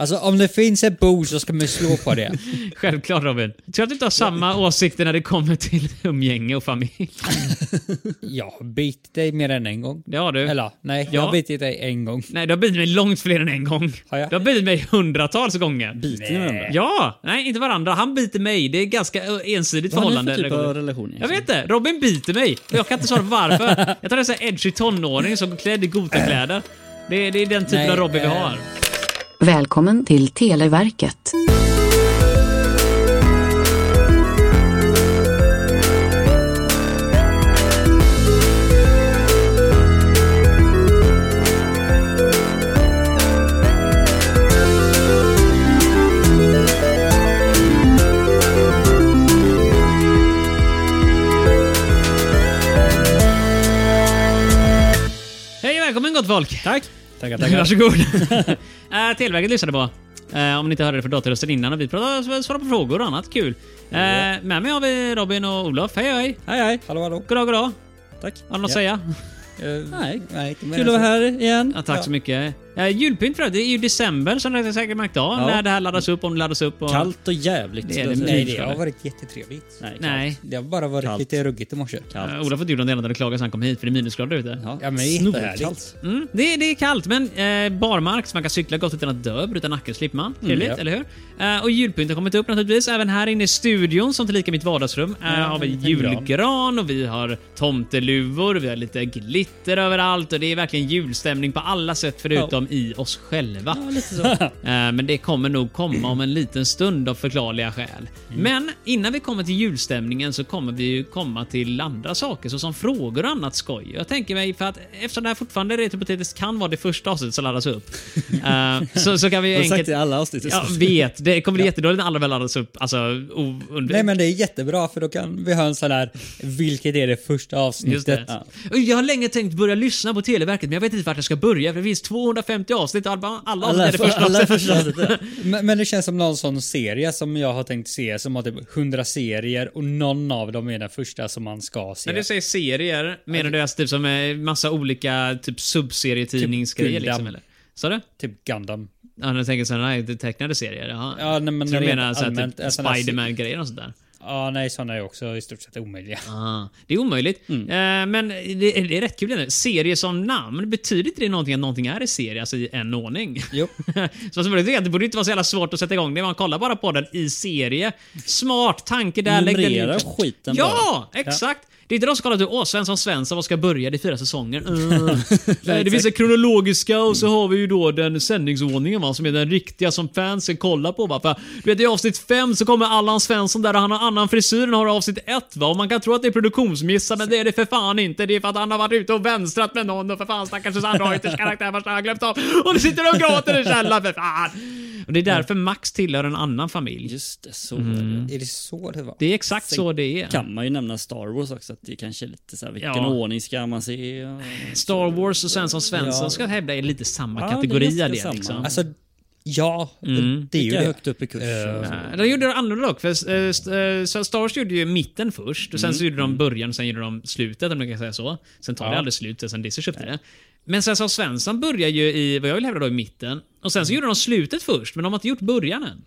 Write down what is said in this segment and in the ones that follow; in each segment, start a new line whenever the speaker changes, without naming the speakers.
Alltså om det finns ett bord så ska man ju slå på det.
Självklart Robin. Tror att du inte har samma åsikter när det kommer till umgänge och familj.
Jag har bitit dig mer än en gång.
Det har du.
Eller nej, jag
Ja.
har bitit dig en gång.
Nej, du har bjudit mig långt fler än en gång.
Har jag?
Du har bjudit mig hundratals gånger.
Biter ni varandra?
Ja! Nej, inte varandra. Han biter mig. Det är ganska ö, ensidigt
Vad har ni
förhållande.
för typ
när det kommer-
av relation
jag
egentligen?
vet inte. Robin biter mig. Och jag kan inte svara på varför. Jag tar en sån här edgy tonåring som går klädd i Gotakläder. Det, det är den typen
Nej,
av Robin vi
eh,
har.
Välkommen till Televerket.
Hej och välkommen gott folk!
Tack! Tackar,
Varsågod. uh, Televerket lyssnade på. Eh, om ni inte hörde det för datorrösten innan. och Vi pratade, svarade på frågor och annat kul. Eh, med mig har vi Robin och Olof. Hej hej!
Hej hej!
Hallå hallå.
Goddag goddag!
Tack!
Har du något att
Ja.
säga?
Eh,
Nej.
nej, inte mer
Kul
än
att vara
så.
här igen.
Ja, tack så mycket. Eh, julpynt för övrigt, det är ju december som ni säkert märkt av.
Ja.
När det här laddas upp, om det laddas upp. Och...
Kallt och jävligt.
Det är det.
Nej,
Kul
det
för
har
dig.
varit jättetrevligt.
Nej. kallt.
Nej.
Det har bara varit
Kallt.
lite ruggigt i morse.
Kallt.
Eh, Ola får gjorde något elände och klagade så han kom hit för det är minusgrader ute.
Ja,
Ja, men
snorkallt.
jättehärligt.
Mm, det, det är kallt, men eh, barmark så man kan cykla gott utan att dö, bryta nacken slipper man. Trevligt,
ja.
eller hur? Eh, och julpynt har kommit upp naturligtvis. Även här inne i studion, som tillika mitt vardagsrum, eh, har vi
en
julgran och vi har tomteluvor, vi har lite glitter överallt och det är verkligen julstämning på alla sätt förutom i oss själva. Eh, Men det kommer nog komma om en liten stund av förklarliga skäl.
Mm.
Men innan vi kommer till julstämningen så kommer vi ju komma till andra saker såsom frågor och annat skoj. Jag tänker mig, för att eftersom det här fortfarande rent hypotetiskt kan vara det första avsnittet som laddas upp. eh, så, så kan vi ju
Har du sagt
enkelt...
det i alla avsnitt?
Jag vet, det kommer bli jättedåligt när alla väl laddas upp. Alltså, o- und-
Nej men det är jättebra för då kan vi ha en sån här Vilket är det första
Just det.
avsnittet?
Och Jag har länge tänkt börja lyssna på Televerket men jag vet inte vart jag ska börja för det finns 250 avsnitt och alla, alla avsnitt är det första
alla
avsnittet.
första avsnittet.
Men, men det känns som någon sån serie som jag har tänkt se som har typ 100 serier och någon av dem är den första som man ska se.
När du säger serier, menar du alltså typ som eh, massa olika typ subserietidningsgrejer
Typ
liksom
Gundam.
eller? Sa du?
Typ Gundam.
Ja, när jag tänker sådana här tecknade serier. Jaha.
Ja, nej, men
Så du
rent
menar såhär,
allmänt, alltså,
typ
en sån här se-
Spiderman-grejer och sånt där?
Ja, nej såna är också i stort sett omöjliga.
Ah, det är omöjligt. Eh, men det, det är rätt kul. ändå. Serie som namn, betyder inte det någonting att någonting är i serie, alltså i en ordning?
Jo.
så som det, det borde inte vara så jävla svårt att sätta igång det. Man kollar bara på den i serie. Smart tanke där. lägg den in.
Numrera skiten bara.
Ja, exakt! Det är inte de som kollar typ, åh, Svensson Svensson, vad ska börja? Det är fyra säsonger. Uh. Nej, det finns den kronologiska och så har vi ju då den sändningsordningen va, som är den riktiga som fansen kollar på. Va? För, du vet, I avsnitt 5 så kommer Allan Svensson där och han har annan frisyr än har i avsnitt 1. Va? Och man kan tro att det är produktionsmissar, men det är det för fan inte. Det är för att han har varit ute och vänstrat med någon och för fan stackars Susanne Reuters karaktär vars han har glömt av. Och nu sitter de och gråter i källaren för fan. Och det är därför Max tillhör en annan familj.
Just det, så
Mhm.
var det.
Är det så det var?
Det är exakt så det är.
kan man ju nämna Star Wars också, att det kanske är lite såhär, vilken
Ja.
ordning ska man se? Och...
Star Wars och Svensson Svensson
Ja.
ska jag hävda är lite samma
Ja, det är
kategori
ganska
av det.
samma.
Liksom.
Alltså, ja.
Mm.
Det är ju
Vilka
det.
högt upp i kurs?
Eh,
Nej, De gjorde det annorlunda dock. För, eh, st- eh, så Star Wars gjorde ju mitten först, och sen
Mm.
så gjorde de början, och sen gjorde de slutet om man kan säga så. Sen tar det aldrig slut, sen Disney köpte det. Men sen så Svensson börjar ju i, vad jag vill hävda då, i mitten. Och
Mm.
sen så gjorde de slutet först, men de har inte gjort början än.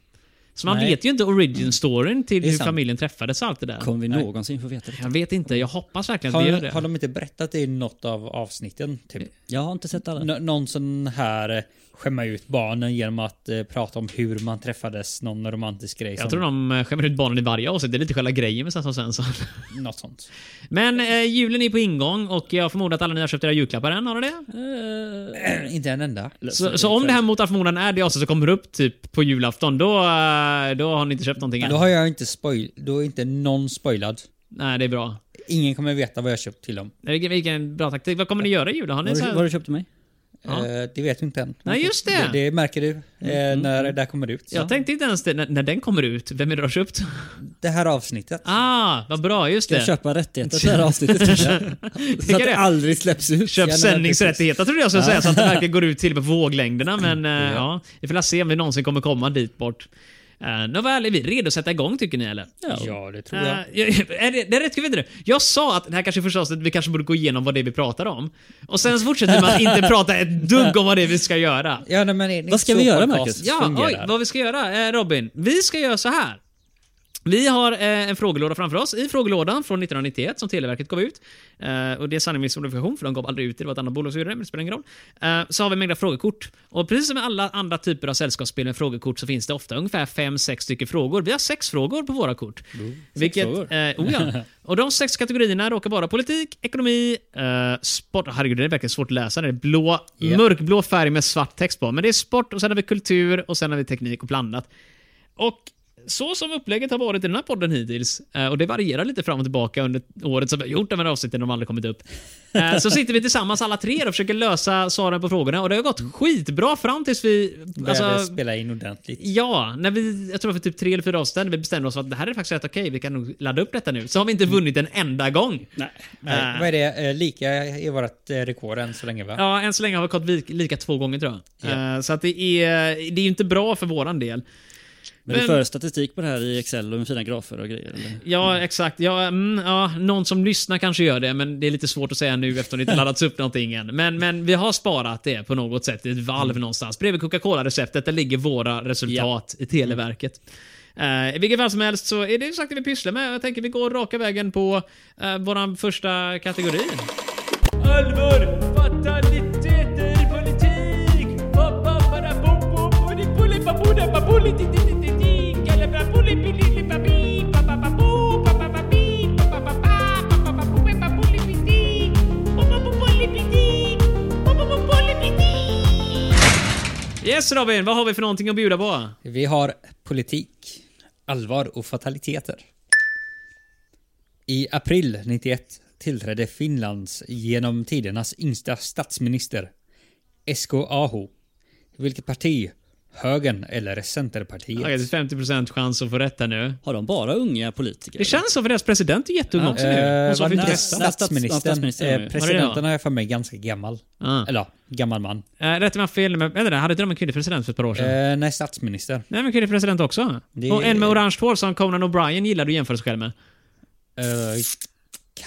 Så man
Nej.
vet ju inte origin storyn till
Det är
hur
sant.
familjen träffades och allt det där.
Kommer vi någonsin få veta det?
Jag vet inte, jag hoppas verkligen att vi gör
Har,
det.
har de inte berättat det i något av avsnitten? Typ?
Jag har inte sett alla.
N- någon sån här eh, skämma ut barnen genom att eh, prata om hur man träffades, någon romantisk grej.
Jag tror de eh, skämmer ut barnen i varje avsnitt. Det är lite själva grejen med Svensson Svensson.
Något sånt.
Men eh, julen är på ingång och jag förmodar att alla ni har köpt era julklappar än, har ni det?
inte en enda.
Så, så om det här mot all förmodan är det avsnitt som kommer upp typ på julafton, då, eh, då har ni inte köpt någonting
Då
än?
har jag inte spoil... Då är inte någon spoilad.
Nej, det är bra.
Ingen kommer veta vad jag köpt till dem.
Vilken, vilken bra taktik. Vad kommer ni göra i jul? Har ni
Vad
så
har
här...
du- vad har du köpt till mig?
Ja. Mm.
Eh, det vet vi inte än.
Nej, just det.
Det, det märker du eh, när det där kommer ut.
Jag tänkte inte ens det, när, när den kommer ut. Vem är det du har köpt?
Det här avsnittet.
Ah, vad bra. Just
Ska jag
det.
köpa rättigheter till det här avsnittet kanske? Så att
det.
det aldrig släpps ut.
Köp
Gärna
sändningsrättigheter trodde jag skulle säga, så att det verkligen går ut till på våglängderna. Men eh, ja, vi får väl se om vi någonsin kommer komma dit bort. Eh, Nåväl, är vi redo att sätta igång tycker ni eller?
Ja, det tror jag.
Eh, är det, det är rätt kul, vet du. Jag sa att det här kanske är första avsnittet vi kanske borde gå igenom vad det är vi pratar om. Och sen så fortsätter vi med att inte prata ett dugg om vad det är vi ska göra.
Ja, nej, men är det
Vad ska
inte
vi
så
göra,
podcast
Marcus?
Ja,
fungerar?
oj, vad vi ska göra eh, Robin. Vi ska göra så här. Vi har eh, en frågelåda framför oss. I frågelådan från 1991 som Televerket gav ut. Eh, och Det är sanning med modifikation för de gav aldrig ut det. Det var ett annat bolag som gjorde det, men det spelar ingen roll. Eh, så har vi mängder av frågekort. Och precis som med alla andra typer av sällskapsspel med frågekort så finns det ofta ungefär 5-6 stycken frågor. Vi har sex frågor på våra kort. vilket, eh,
frågor.
oh ja. Och de sex kategorierna råkar vara politik, ekonomi, eh, sport. Herregud, det är verkligen svårt att läsa. Det är blå,
Ja.
mörkblå färg med svart text på. Men det är sport, och sen har vi kultur, och sen har vi teknik och blandat. Och så som upplägget har varit i den här podden hittills, eh, och det varierar lite fram och tillbaka under året som vi har gjort de här avsnitten, de har aldrig kommit upp. Eh, Så sitter vi tillsammans alla tre och försöker lösa svaren på frågorna och det har gått skitbra fram tills vi...
Började
Alltså,
spela in ordentligt.
Ja, när vi, jag tror för typ tre eller fyra avsnitt, vi bestämde oss för att det här är faktiskt rätt okej, vi kan nog ladda upp detta nu. Så har vi inte vunnit en enda gång.
Nej.
Nej,
Eh.
Vad är det? Eh, Lika är vårt eh, rekord än så länge va?
Ja, än så länge har vi gått vik- lika två gånger tror jag. Eh, Så att det är det är ju inte bra för våran del.
Men
Men-
du för statistik på det här i Excel och med fina grafer och grejer. Eller?
Ja, exakt. Ja, mm, ja, någon som lyssnar kanske gör det, men det är lite svårt att säga nu eftersom det inte laddats upp någonting än. Men, men vi har sparat det på något sätt i ett valv någonstans. Bredvid Coca-Cola-receptet, där ligger våra resultat i Televerket. Eh, I vilket fall som helst så är det exakt det vi pysslar med. Jag tänker vi går raka vägen på uh, vår första kategori. Allvar, fataliteter, politik, pappa, para, pop, pop, poli, poli, papuda, papuli, ti, ti, ti, ti, ti, kala, papuli, pili, li, papi, pappa, papu, pappa, papi, pappa, pappa, pappa, papu, pe, papuli, piti, pappa, papuli, piti, pappa, papuli, piti. Yes Robin, vad har vi för någonting att bjuda på?
Vi har politik, allvar och fataliteter. I april 91 tillträdde Finlands genom tidernas yngsta statsminister SK Aho. Vilket parti? Högern eller Centerpartiet? Eh,
Okej, det är 50% chans att få rätt här nu.
Har de bara unga politiker?
Det känns som för deras president är jätteung också nu. Hon
Eh,
sa
var
för
det
inte
inte
rösta.
Ja, statsministern var
statsministern?
det.
Eh,
Var det
presidenten har jag för mig ganska gammal.
Ah.
Eller ja, gammal man.
Eh, Rätt mig om jag har fel, men vänta, där, hade inte de en kvinnlig president för ett par år sedan?
Eh, nej, statsminister.
Nej, men kvinnlig president också.
Det-
Och en med orange hår som Conan O'Brien gillade att jämföra sig själv med.
Eh,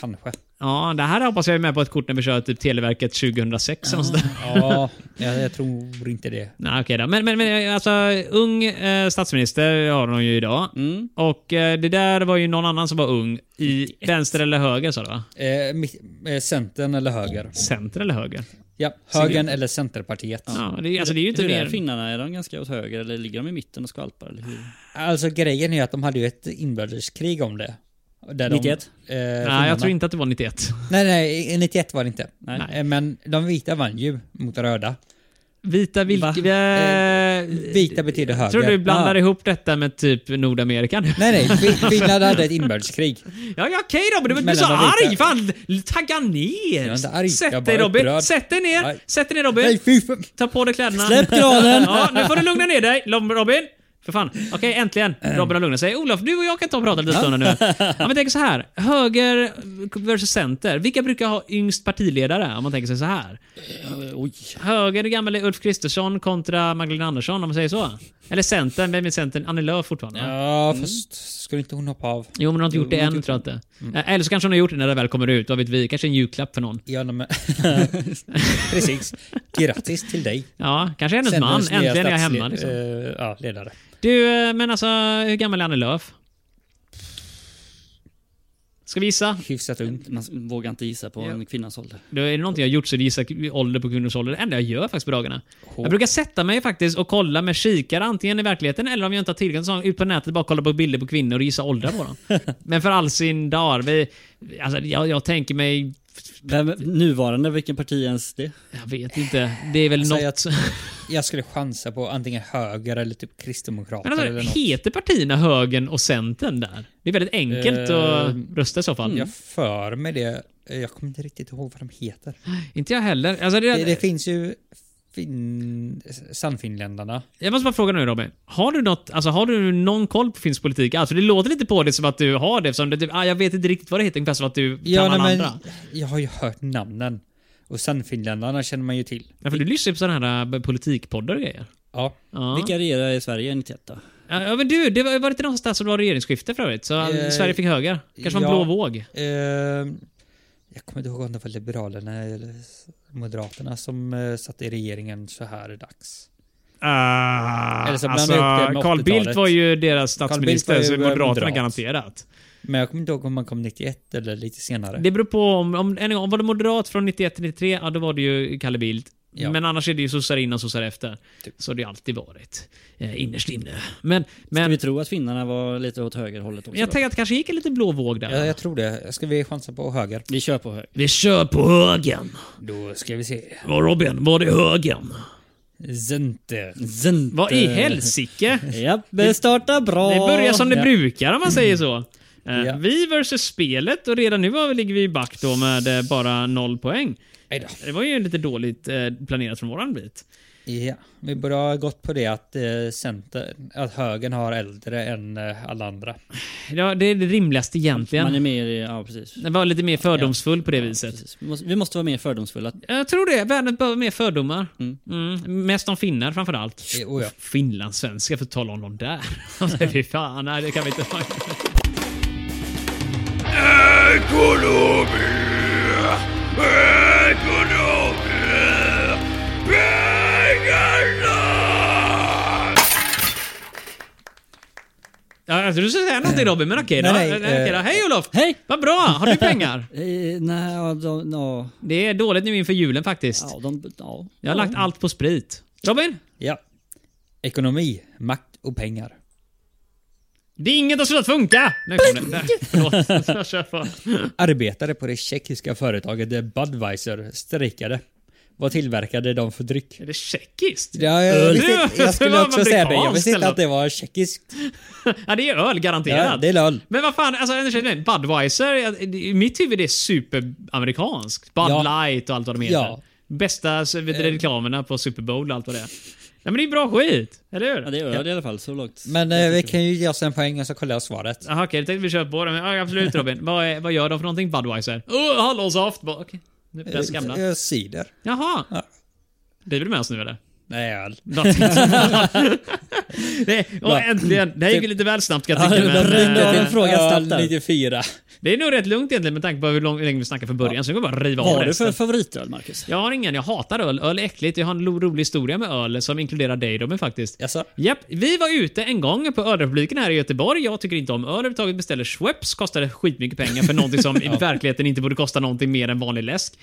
kanske.
Ja, det här hoppas jag är med på ett kort när vi kör typ Televerket 2006 eller nåt sånt där.
Ja, jag, jag tror inte det.
Nej, okej då. Men, men, men alltså, ung eh, statsminister har hon ju idag. Och eh, det där var ju någon annan som var ung. I vänster eller höger sa du va?
Eh, mitt, eh, centern eller höger?
Center eller höger?
Ja, högern eller Centerpartiet.
Ja, det, alltså det är ju inte
Hur är
mer...
finnarna? Är de ganska åt höger eller ligger de i mitten och skvalpar? Eller hur?
Alltså grejen är att de hade ju ett inbördeskrig om det. Där
91?
De, eh, finnarna-
Nej, jag tror inte att det var 91.
Nej, nej, 91 var det inte.
Nej.
Eh, Men de vita vann ju mot de röda.
Vita vilka...
Va?
Eh,
Vita betyder höger.
Tror du blandar
Ah.
ihop detta med typ Nordamerika nu?
Nej, nej. Fi- Finland hade ett inbördeskrig.
Ja, ja okej Robin, du blir
Mellan
så
de vita.
arg! Fan, l- tagga ner!
Jag är inte arg, jag är
Sätt
bara
dig Robin,
upprörd.
sätt dig ner!
Nej.
Sätt dig
Nej,
ner Robin!
fy fan.
Ta på dig kläderna.
Släpp granen.
Ja, nu får du lugna ner dig Lob- Robin. För fan. Okej, äntligen. Robin har lugnat sig. Olof, du och jag kan ta och prata lite stund nu. Ehm. Ja, men tänk så här. Höger versus center. Vilka brukar ha yngst partiledare? Om man tänker sig så här. Eh,
Oj.
Höger, den gamle Ulf Kristersson kontra Magdalena Andersson, om man säger så. Eller centern, vem är centern? Annie Lööf fortfarande? va?
Ja, fast skulle inte hon hoppa av?
Jo, men hon har inte gjort det än, tror jag inte. Eh, Eller så kanske hon har gjort det när det väl kommer ut, vad vet vi? Kanske en julklapp för någon.
Ja, men... Precis. Grattis till dig.
Ja, kanske hennes man.
Centerns nya
Äntligen är jag
statsle-
hemma. Liksom.
eh, ja, ledare.
Du, eh, men alltså, hur gammal är Annie Lööf? Ska vi gissa?
Hyfsat ung.
Man vågar inte gissa på en kvinnas ålder.
Det är någonting jag har gjort så det gissar ålder på kvinnors ålder. Det enda jag gör faktiskt på dagarna. Jag brukar sätta mig faktiskt och kolla med kikare antingen i verkligheten eller om jag inte har tillgång till sån, ut på nätet bara kolla på bilder på kvinnor och gissa åldrar på dem. Men för all sin dar, vi, alltså, jag, jag tänker mig...
Vem, nuvarande, vilken parti ens det?
Jag vet inte. Det är väl
Alltså, jag-
något...
Jag skulle chansa på antingen höger eller typ kristdemokrater
Men alltså,
eller något.
heter partierna högern och centern där? Det är väldigt enkelt att
Eh,
rösta i så fall.
Jag för mig det. Eh, Jag kommer inte riktigt ihåg vad de heter.
Inte jag heller. Alltså, det,
Det, det finns ju fin... Sannfinländarna.
Jag måste bara fråga nu Robin. Har du, något, alltså, har du någon koll på finsk politik? Alltså, det låter lite på det som att du har det. Som du, typ, ah, jag vet inte riktigt vad det heter, ungefär som att du kan alla
nej,
andra.
jag har ju hört namnen. Och Sannfinländarna känner man ju till.
Ja, för du lyssnar ju på sådana här eh, politikpoddar och grejer.
Ja.
Ja.
Vilka regerar i Sverige 91 då?
Ja, men du, det var, var det inte någonstans som det var regeringsskifte för övrigt? Så
Eh,
Sverige fick höger? Kanske var en
ja.
blå våg?
Ehm, jag kommer inte ihåg om det var Liberalerna eller Moderaterna som eh, satt i regeringen så här dags.
Ah,
Eller så blandar
alltså,
jag upp det med
Carl
80-talet.
Bildt var ju deras
var
statsminister,
ju
så Moderaterna
moderat.
garanterat.
Men jag kommer inte ihåg om man kom 91 eller lite senare.
Det beror på om, om, än en gång, om var det moderat från 91 till 93, ja då var det ju Kalle Bildt.
Ja.
Men annars är det ju sossar innan sossar efter.
Typ.
Så har det ju alltid varit. Eh, innerst inne. Men,
Men
men
vi tror att finnarna var lite åt högerhållet också.
jag tänker att det kanske gick en liten blå våg där.
Ja, jag tror det. Ska vi chansa på höger?
vi kör på höger.
Vi kör på högen.
Då ska vi se.
Var Robin, var det högen?
Center.
Zent.
Vad
Eh.
i helsike?
Japp, det startar bra.
Det börjar som det brukar om man säger så. Eh,
Ja.
Vi versus spelet och redan nu har vi- ligger vi back då med eh, bara noll poäng.
Aj då.
Det var ju lite dåligt eh, planerat från våran bit.
Ja, vi borde ha gått på det att, eh, center, att högern har äldre än eh, alla andra.
Ja, det är det rimligaste
Man är
egentligen.
mer i, ja precis.
Det var lite mer fördomsfull på det viset.
precis. Vi, måste, vi måste vara mer fördomsfulla.
Jag tror det. Världen behöver mer fördomar. Mm. Mest om finnar framförallt.
Eh, oh ja.
Finlandssvenska, för att tala om dem där. Alltså, Fy fan, nej det kan vi inte ha. Ja, Jag trodde du skulle säga någonting Robin, men okej då.
Nej, nej,
Okej då.
eh,
Hej Olof!
Hej!
Vad bra! Har du pengar?
Eh, nej, ja, de, ja,
Det är dåligt nu inför julen faktiskt.
ja, de, ja.
Jag har lagt allt på sprit. Robin?
Ja. Ekonomi, makt och pengar.
Det är inget som slutat funka! Nu kom det. Där. Förlåt. Jag kör på.
Arbetare på det tjeckiska företaget Budweiser strejkade. Vad tillverkade de för dryck?
Är det tjeckiskt?
Ja, jag,
Öl.
visste, inte- jag
Det
skulle
var
också säga det. Jag
amerikanskt
visste inte
eller
att det var tjeckiskt.
Ja, det är öl garanterat.
Ja, det är löl.
Men vad fan, alltså, ursäkta mig, Budweiser, jag- i mitt huvud är superamerikanskt. Bud
Ja.
Light och allt vad de heter.
Ja.
Bästa så vet du, reklamerna på Super Bowl och allt vad det är. Ja, men det är bra skit, eller hur?
ja det är öl i alla fall, så långt.
Men eh, vi kan ju ge oss en poäng och så kollar jag svaret.
Jaha, okej, då tänkte vi köra på den. Ja, absolut Robin. vad, är, vad gör de för någonting, Budweiser? Oh, hallonsaft! Bara, Okej, nu är det gamla.
Eh, Cider.
Jaha.
Ja.
Driver du med oss nu eller?
Nej, öl.
Nej, och äntligen. Det här gick ju lite väl snabbt kan jag tycka.
Typ. det
men,
ringde
eh,
till en fråga
Öl
snabbt där.
94.
det är nog rätt lugnt egentligen med tanke på hur lång- hur länge vi snackade från början. Så vi kan bara riva av
Vad har du
resten.
för favoritöl, Marcus?
Jag har ingen, jag hatar öl. Öl är äckligt. Jag har en lo- rolig historia med öl som inkluderar dig Robin faktiskt.
Jaså?
Japp, vi var ute en gång på ölrepubliken här i Göteborg. Jag tycker inte om öl överhuvudtaget. Beställer Schweppes, kostade skitmycket pengar för någonting som i verkligheten inte borde kosta någonting mer än vanlig läsk.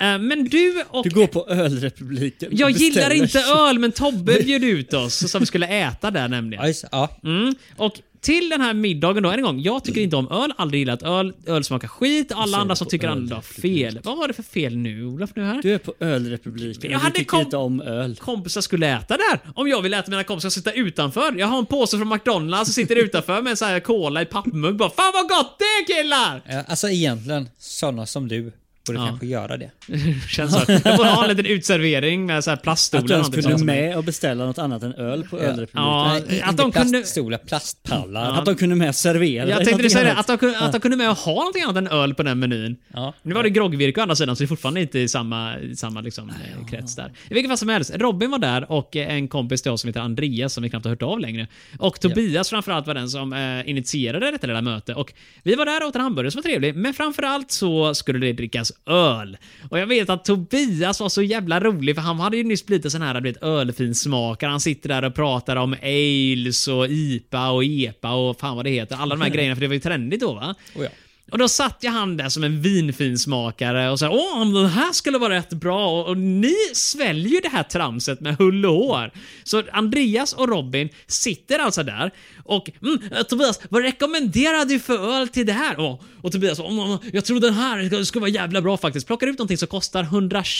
Eh, men du och...
Du går på ölrepubliken.
jag gillar
Beställer.
inte öl, men Tobbe bjöd ut oss och sa vi skulle äta där nämligen.
Ja, just- ja.
Mm. Och till den här middagen då, än en gång. Jag tycker inte om öl, aldrig gillat öl. Öl smakar skit. Alla andra som tycker annorlunda har fel. Vad var det för fel nu, Olof? Nu här?
Du är på ölrepubliken
Jag
och du
hade
tycker
kom-
inte om öl.
kompisar skulle äta där. Om jag vill äta mina kompisar sitta utanför. Jag har en påse från McDonalds och sitter utanför med en sån här cola i pappmugg. Bara, Fan vad gott det är killar!
Eh, Alltså egentligen, sådana som du borde
Ja.
kanske göra det.
Känns så. här. Jag borde ha en liten utservering med så här plaststolar.
Att du ens
någonting
kunde
sånt.
med och beställa något annat än öl på ölrepubliken.
Ja,
Nej,
att
inte
de kunde...
plaststolar, plastpallar.
Att de kunde med servera
Jag
dig
tänkte
någonting
säga det,
annat.
att de, kunde, att de kunde med att ha någonting annat än öl på den menyn.
Ja.
Nu var det groggvirke å andra sidan, så vi är fortfarande inte i samma, i samma liksom, eh, krets där. I vilket fall som helst, Robin var där och eh, en kompis till oss som heter Andreas som vi knappt har hört av längre. Och Tobias framförallt var den som eh, initierade detta lilla möte. Och vi var där och åt en hamburgare som var trevlig, men framförallt så skulle det drickas öl. Och jag vet att Tobias var så jävla rolig, för han hade ju nyss blivit en sån här du vet, ölfinsmakare. Han sitter där och pratar om ales och IPA och EPA och fan vad det heter. Alla de här grejerna, för det var ju trendigt då va?
Oh, ja.
Och då satt jag han där som en vinfinsmakare och sa åh, om den här skulle vara rätt bra och, och ni sväljer ju det här tramset med hull och hår. Så Andreas och Robin sitter alltså där och mm, eh, Tobias, vad rekommenderar du för öl till det här? Och, och Tobias, "Mm, mm, jag tror den här ska, ska vara jävla bra faktiskt. Plockar ut någonting som kostar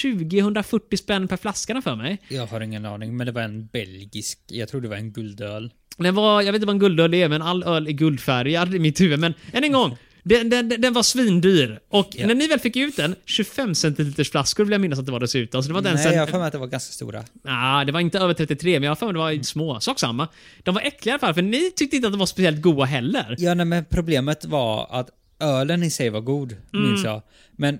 120-140 spänn per flaska för mig.
Jag har ingen aning, men det var en belgisk. Jag tror det var en guldöl.
Den var, jag vet inte vad en guldöl är, men all öl är guldfärgad i mitt huvud. Men än en gång. Den, den, den var svindyr. Och när ni väl fick ut den, 25 centiliters flaskor vill jag minnas att det var dessutom. Så det var den
Nej, jag har
sen,
för mig att det var ganska stora.
ah, det var inte över 33, men jag har för mig det var små. Sak samma. De var äckliga i alla fall, för ni tyckte inte att de var speciellt goda heller.
Ja, nej, men problemet var att ölen i sig var god, minns jag. Men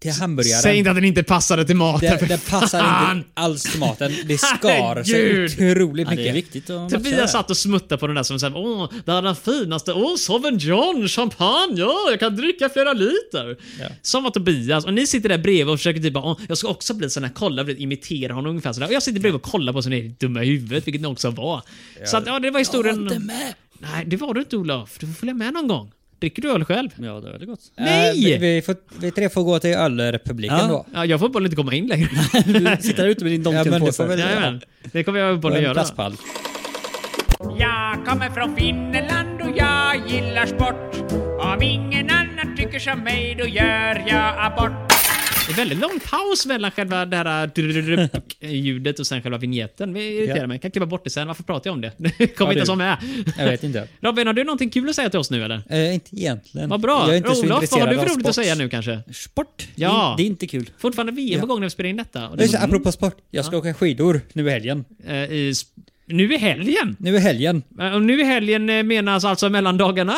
till hamburgaren.
Mm. Säg inte att den inte passade till maten.
det,
för
det passar
fan!
inte alls till maten. Det skar sig
Herregud!
otroligt
Ja, det är
mycket.
viktigt att matcha det.
Tobias satt och smuttade på den där som såhär, åh, det här är den finaste, åh, Sauvignon John, champagne, ja, jag kan dricka flera liter.
Ja.
Som var Tobias, och ni sitter där bredvid och försöker typ bara, åh, jag ska också bli sån här, kolla, och imitera honom ungefär sådär. Och jag sitter bredvid och kollar på sån här dumma i huvudet, vilket ni också var. Så att, ja, det var historien. Jag var inte med. Nej, det var du inte Olof. Du får följa med någon gång. Dricker du öl själv?
Ja, det är väldigt gott.
Eh,
Nej!
vi, vi, får, vi tre får gå till ölrepubliken
Ja.
då.
Ja, jag får bara inte komma in längre.
Du sitter där ute med din
Ja, men det
Donken-påse.
får väl-
Jajamän. Det kommer jag
Och
uppenbarligen
en
göra.
plastpall.
Jag kommer från Finland och jag gillar sport. Om ingen annan tycker som mig då gör jag abort.
Det är väldigt lång paus mellan själva det här drrrrrrrrrrrrrrrrrrrrrrrrrrrrrrrrrrrrrrrr- ljudet och sen själva vignetten. Det irriterar
Ja.
mig. Jag kan klippa bort det sen. Varför pratar jag om det? Det kommer
Ja,
inte
du.
ens vara med.
Jag vet inte.
Robin, har du någonting kul att säga till oss nu eller?
Eh, inte egentligen.
Vad bra!
Jag är inte så
Olof, vad har
intresserad
du för
av
roligt att
sport.
säga nu kanske?
Sport?
Ja. Mm.
Det är inte kul.
Fortfarande VM
Ja.
på gång när vi spelar in detta. Och
Just,
det,
det, apropå sport, jag ska åka skidor nu i helgen.
eh, i, sp- nu i helgen!
Nu i helgen.
Eh, Och nu i helgen eh, menas alltså mellandagarna?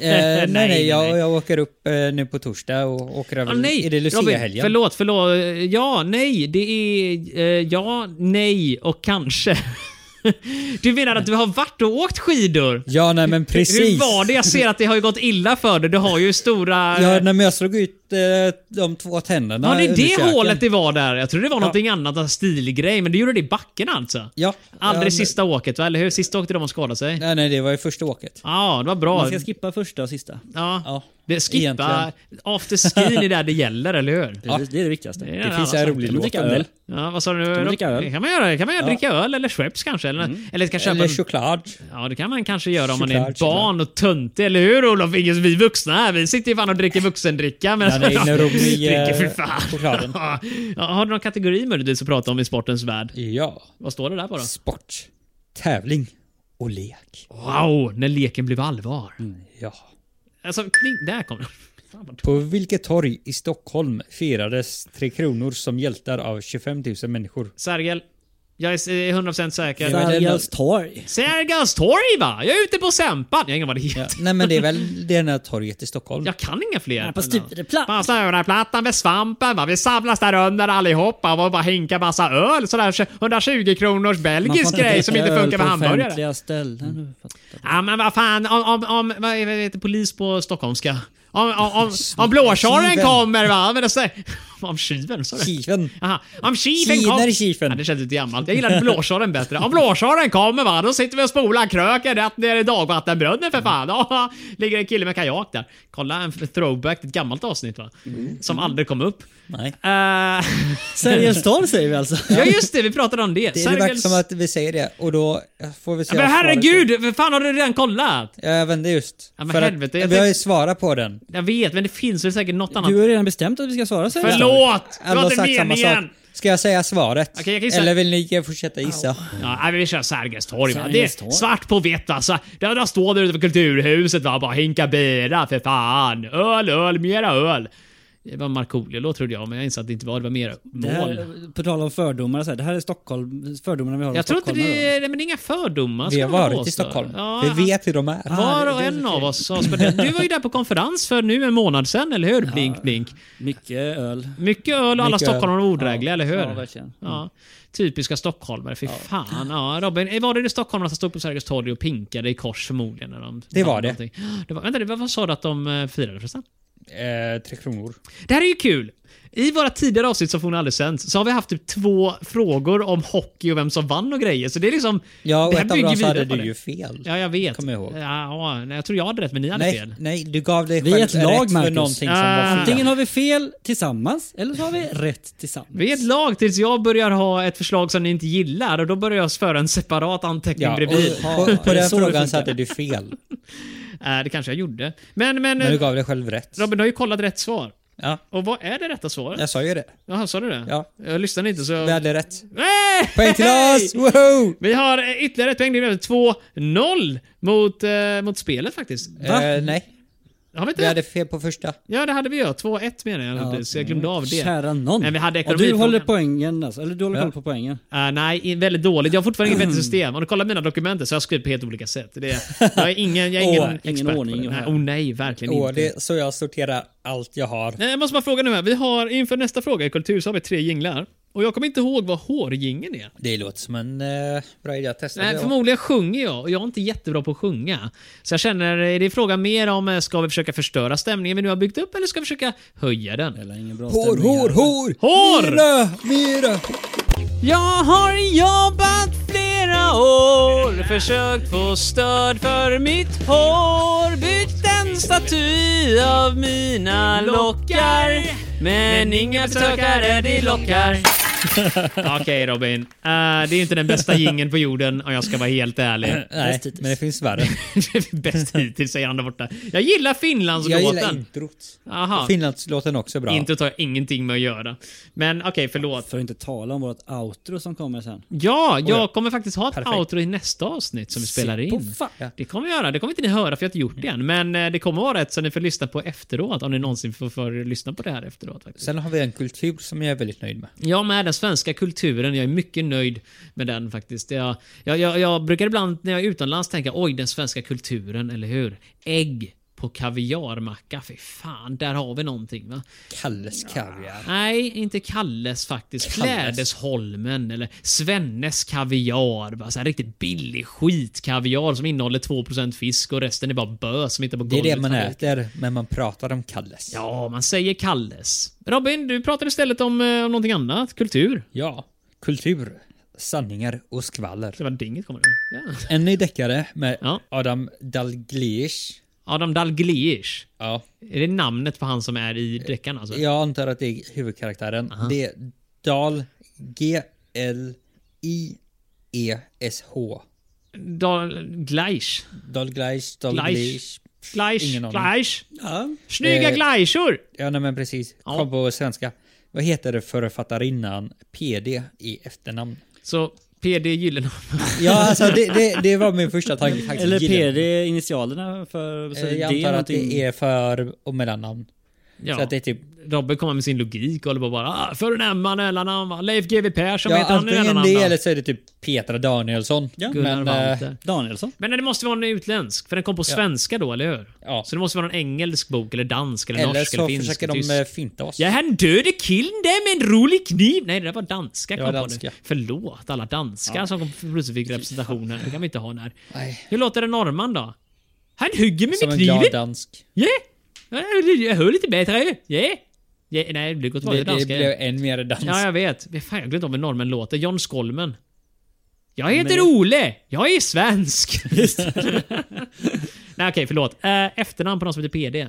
Eh, nej, nej,
nej,
Jag,
nej.
jag åker upp eh, nu på torsdag och åker över...
Ah, nej!
Är det
Robin,
Lucia-helgen?
förlåt, förlåt. Eh, Ja, nej, det är... Eh, ja, nej och kanske. Du menar att du har varit och åkt skidor?
Ja, nej men precis.
Hur var det? Jag ser att det har ju gått illa för dig. Du har ju stora...
Ja, nej, men jag slog ut eh, de två tänderna
var det
under
det
köken.
hålet det var där? Jag trodde det var någonting annat, en stilgrej, men det gjorde det i backen alltså?
Ja.
Aldrig
ja,
sista åket, va? eller hur? Sista åket är de man skadade sig? Ja,
Nej, nej, det var ju första åket.
det var bra.
Man ska skippa första och sista.
ja.
Ja.
Det, skippa
Egentligen.
afterskin är där det gäller, eller hur?
Ja.
Precis, Det är det viktigaste.
är en
Det finns
annan
en
sak.
rolig
Kan man
låt
dricka
om det.
öl?
Ja, vad sa du?
man
Rob?
dricka öl?
Det kan man göra. Det kan man göra. Dricka öl eller Schweppes kanske. Eller, eller ska köpa
Mm. Eller
en
choklad.
Ja, det kan man kanske göra om man är ett
Såklart,
barn och töntig, eller hur Olof? Ingen, vi vuxna här, vi sitter ju fan och dricker vuxendricka. Men
Ja, det är inne och i,
dricker
eh,
för fan.
chokladen.
Ja, har du någon kategori möjligtvis att prata om i sportens värld?
Ja.
Vad står det där på då?
Sport. Tävling. Och lek.
Wow, när leken blev allvar.
Ja.
Alltså, kling, där kom den. Fan, vad-
På vilket torg i Stockholm firades Tre Kronor som hjältar av 25 000 människor?
Sergel, jag är eh, 100%
Ja.
säker.
Sargals torg.
Sergels torg va? Jag är ute på Sempan. Jag har ingen vad det heter.
Ja. Nej men det är väl det här torget i Stockholm?
Jag kan inga fler.
Ja, På
typ
Stureplan.
Man snurrar plattan med svampen, va? vi samlas där under allihopa och bara hinkar massa öl. Sådär 120 kronors
Man får
belgisk
inte
grej som inte
dricka
funkar
öl på
med hamburgare.
offentliga
Mm.
ställen. Fattar.
Ja men vad fan, om, om, om vad är- vad heter polis på stockholmska? Om, om, om, om blåkärren
Kiven.
kommer va? Men det säger- om tjuven, sa du?
Kiven.
Aha. Om kiven
Kina
kom-
i kiven.
Ja, det känns lite gammalt. Jag gillade blåsaren bättre. Om blåsaren kommer va, då sitter vi och spolar kröken rätt ner i dagvattenbrunnen för fan. Ja, ligger en kille med kajak där. Kolla en throwback till ett gammalt avsnitt va?
Mm.
Som aldrig kom upp.
Nej.
Eh,
Sergels torg säger vi alltså.
ja just det, vi pratade om det.
Det är det verkar
Sergels-
som att vi säger det och då får vi se...
Men
om svaret-
herregud, för fan har du redan kollat?
Ja, Jag vände just.
Ja, men
För att
helvete, jag
vi har ju
tänkte-
svarat på den.
Jag vet, men det finns väl säkert något annat.
Du har redan bestämt att vi ska svara Sergels torg.
Förlåt! Det
Alla
var
har
inte
sagt samma
meningen!
sak. Ska jag säga svaret?
Okej, jag kan gissa.
Eller vill ni fortsätta gissa?
Ja, nej, men vi kör Sergels torg. va? Det
Sergels
är
torg.
svart på vitt alltså. Där, där står du utanför Kulturhuset va? bara hinka bira för fan. Öl, öl, mera öl. Det var en Markoolio-låt trodde jag, men jag insåg att det inte var. Det var mer
Det
mål.
här, på tal om fördomar, så här, det här är Stockholm, fördomarna vi har om
Jag tror inte
stockholmare
det är... Nej, men det är inga fördomar.
Vi
ska
har
man
varit
påstå.
i Stockholm.
Ja,
vi vet hur de är.
Var
det-
och
det är
en
så
av oss har spenderat- Du var ju där på konferens för nu en månad sedan, eller hur? Blink, blink.
då. Mycket öl.
Mycket öl och alla
Mycket öl.
stockholmare var odrägliga, eller hur?
Ja, verkligen.
Ja. Typiska stockholmare, fy fan. Ja, Robin, eh, var det det stockholmarna som stod på Sergels torg och pinkade i kors förmodligen? När de
Det var det.
någonting? det var, vänta, det var- vad sa du att de eh, firade förresten?
Eh, tre kronor.
Det här är ju kul. I våra tidigare avsnitt som fortfarande aldrig sänds så har vi haft typ två frågor om hockey och vem som vann och grejer. Så det är liksom...
Ja, och
det här
ett av
bygger
dem så
vidare
hade
på
du
det.
ju fel.
Ja, jag vet.
Kommer jag ihåg.
Ja, ja, nej, jag tror jag hade rätt, men ni hade
nej,
fel.
nej, du gav dig
Vi är
själv
ett lag,
rätt för
Marcus.
någonting som
Ah.
var fel.
Antingen har vi fel tillsammans, eller så har vi rätt tillsammans.
Vi är ett lag tills jag börjar ha ett förslag som ni inte gillar och då börjar jag föra en separat anteckning
Ja,
bredvid.
och på, på
det är
den
så det
frågan så
funkar.
hade du fel.
Eh, det kanske jag gjorde. Men,
Men
men,
du
eh,
gav dig själv rätt.
Robin, du har ju kollat rätt svar.
Ja,
Och vad är det rätta svaret?
jag sa ju det.
Jaha, sa du det?
Ja.
Jag lyssnade inte så...
Vi hade rätt.
Nej!
Poäng till oss! Woho!
Vi har eh, ytterligare ett poäng. Det blev 2-0 mot, eh, mot spelet faktiskt.
Eh, nej.
Har vi inte
Vi
det?
hade fel på första.
Ja, det hade vi ju. 2-1 menar jag. så jag
mm.
glömde av det.
Kära nån.
Nej, vi hade
och du
ekonomifrågan.
håller poängen alltså. Eller du håller
Ja.
koll på poängen.
Ah, nej, i- väldigt dåligt. Jag har fortfarande inget vettigt system. Om du kollar mina dokument så har jag skrivit på helt olika sätt. Det är, jag är ingen, jag är ingen
Åh, ingen
expert på
ordning
det. Nej,
här.
oh, nej, verkligen
Åh,
inte.
det är så jag sorterar allt jag har.
Nej, Eh, jag måste bara fråga nu här. Vi har, inför nästa fråga i kultur så har vi tre jinglar. Och jag kommer inte ihåg vad hårjingeln är.
Det låter som en eh, bra idé att testa.
Nej,
Det-
förmodligen sjunger jag och jag är inte jättebra på att sjunga. Så jag känner, är det fråga mer om, eh, ska vi försöka förstöra stämningen vi nu har byggt upp eller ska vi försöka höja den?
Eller ingen bra
Hår,
stämning här.
hår, hår!
Hår!
Mera, mera!
Jag har jobbat flera år, försökt få stöd för mitt hår, byggt en staty av mina lockar. Men inga besökare det lockar. Okej Robin, Eh, det är inte den bästa gingen på jorden om jag ska vara helt ärlig.
Nej,
Bäst hittills.
men det finns värre.
Bäst hittills säger han där borta. Jag gillar
Jag gillar
Finlandslåten.
introt.
Jaha,
Finlandslåten är också bra.
inte tar jag ingenting med att göra. Men okej, förlåt.
För att inte tala om vårt outro som kommer sen.
Ja, jag kommer faktiskt ha ett
Perfekt.
outro i nästa avsnitt som vi spelar
Se på
in.
fan.
Det kommer vi göra. Det kommer inte ni höra för jag har inte gjort det än. Men eh, det kommer vara ett som ni får lyssna på efteråt. Om ni någonsin får, får lyssna på det här efteråt. Faktiskt.
Sen har vi en kultur som jag är väldigt nöjd med.
Ja, med den svenska kulturen. Jag är mycket nöjd med den faktiskt. Jag, jag, jag, jag brukar ibland när jag är utomlands tänka oj, den svenska kulturen, eller hur? Ägg på kaviarmacka. Fy fan, där har vi någonting va?
Kalles kaviar.
Nej, inte Kalles faktiskt. Klädesholmen eller Svennes kaviar. Bara så här riktigt billig skitkaviar som innehåller 2% fisk och resten är bara bös som hittar på
Det är
golvet.
det man äter, men man pratar om Kalles.
Ja, man säger Kalles. Robin, du pratar istället om, eh, om någonting annat. Kultur.
Ja. Kultur, sanningar och skvaller.
Det var dinget kommer det. Ja.
En ny deckare med
Ja.
Adam Dalgliesh.
Adam Dalgliesh.
Ja.
Är det namnet på han som är i deckarna? Alltså?
Jag antar att det är huvudkaraktären. Det är Dal G L I E S H.
Dalgliesh.
Dalgliesh,
Gleish.
Dalgliesh.
Gleish.
Ingen aning.
Gleish.
Ja.
Snygga
Eh,
Gleishor!
Ja, nej, men precis.
Ja.
Kom på svenska. Vad heter författarinnan PD i efternamn?
Så PD Gyllenhammar.
Ja, alltså det, det, det var min första tanke faktiskt.
Eller
Gillar.
PD initialerna för... Så
Eh, Jag
det
antar
är
att
någonting-
det är för och mellannamn.
Ja.
Så att det är typ...
Robin kommer med sin logik och håller på bara ah, för en Emma mellannamn va? Leif GW Persson
Ja,
heter han i
antingen
mellannamn
det
va?
eller så är det typ Petra Danielsson.
Ja.
Gunnar
eh,
Walter.
Danielsson.
Men det måste vara en utländsk, för den kom på svenska då, eller hur?
Ja.
Så det måste vara en engelsk bok, eller dansk, eller,
eller
norsk,
så
eller finsk,
försöker
eller tysk.
de eh, finta oss.
Ja, han döde killen där med en rolig kniv. Nej, det där var danska.
Det
Kom
var
på nu.
danska.
Förlåt alla danskar som kom- plötsligt fick representation här. Det kan vi inte ha när.
Nej.
Hur låter en norrman då? Han hugger mig
Som
med
en glad
kniven.
dansk.
Ja! Ja, Jag hör lite bättre ju. Ja! Ja, Nej, det blir gott
Det,
vanligt
det
danska.
blev än mer dansk.
Ja, jag vet. Vad Fan, jag glömde om hur norrmän låter. John Skolmen. Jag heter Ole. Jag är svensk. Nej, okej, förlåt. Eh, efternamn på någon som heter PD.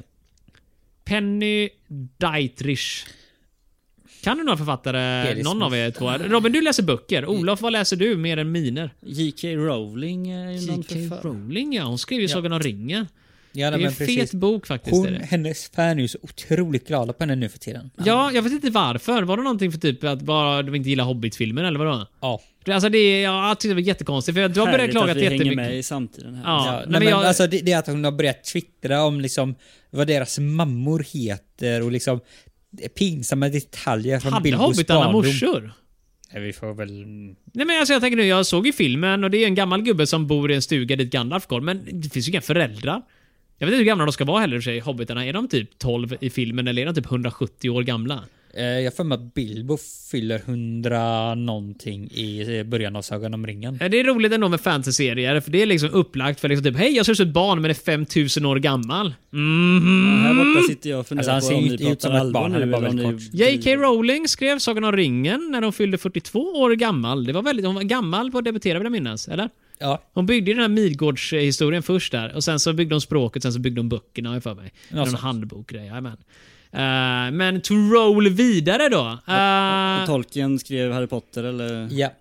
Penny Dietrich. Kan du några författare?
P.D.
någon
Smith. Mm.
av er två? Robin, du läser böcker. Olof, vad läser du mer än miner?
J.K. Rowling är ju någon författare.
Rowling, ja. Hon skrev ju Sagan om ringen.
Ja, nej,
Det är en
men
fet
precis.
bok faktiskt. är
Hon,
det.
hennes fan är ju så otroligt glada på henne nu för tiden.
Ja, jag vet inte varför. Var det någonting för typ att bara de inte gillar Hobbit-filmer eller vadå?
Ja.
Det- Alltså det, är- ja, jag tyckte det var jättekonstigt för du har börjat
Härligt
klaga
att vi hänger
jättemycket.
med i samtiden här.
Ja,
Ja,
nej,
nej,
men
men
jag,
alltså det, det är att hon har börjat twittra om liksom vad deras mammor heter och liksom pinsamma detaljer från
hade
Bilbos
hobbitarna
barndom.
morsor?
Nej, vi får väl...
Nej men alltså jag tänker nu, jag såg ju filmen och det är en gammal gubbe som bor i en stuga dit Gandalf går, men det finns ju inga föräldrar. Jag vet inte hur gamla de ska vara heller i och för sig, hobbitarna. Är de typ 12 i filmen eller är de typ 170 år gamla?
Eh, jag får mig att Bilbo fyller hundra någonting i eh, början av Sagan om ringen.
Ja, Eh, Det är roligt ändå med fantasy-serier, för det är liksom upplagt för liksom typ Hej, jag ser ut som ett barn men är 5000 år gammal. Mhm.
Här borta sitter jag och funderar
Alltså, han ser
på om
inte
ni
ut
pratar
som ett
allvar
barn,
nu
han är bara
eller om
väldigt
ni-
J.K. Rowling skrev Sagan om ringen när hon fyllde 42 år gammal. Det var väldigt, hon var gammal på att debutera vill jag minnas, eller?
Ja,
Hon byggde ju den här Midgårdshistorien först där och sen så byggde hon språket, sen så byggde hon böckerna har jag för mig.
Ja,
Någon
sant.
handbok grej, jajamän. Eh, men to roll vidare då. Eh,
Tolkien skrev Harry Potter eller?
ja.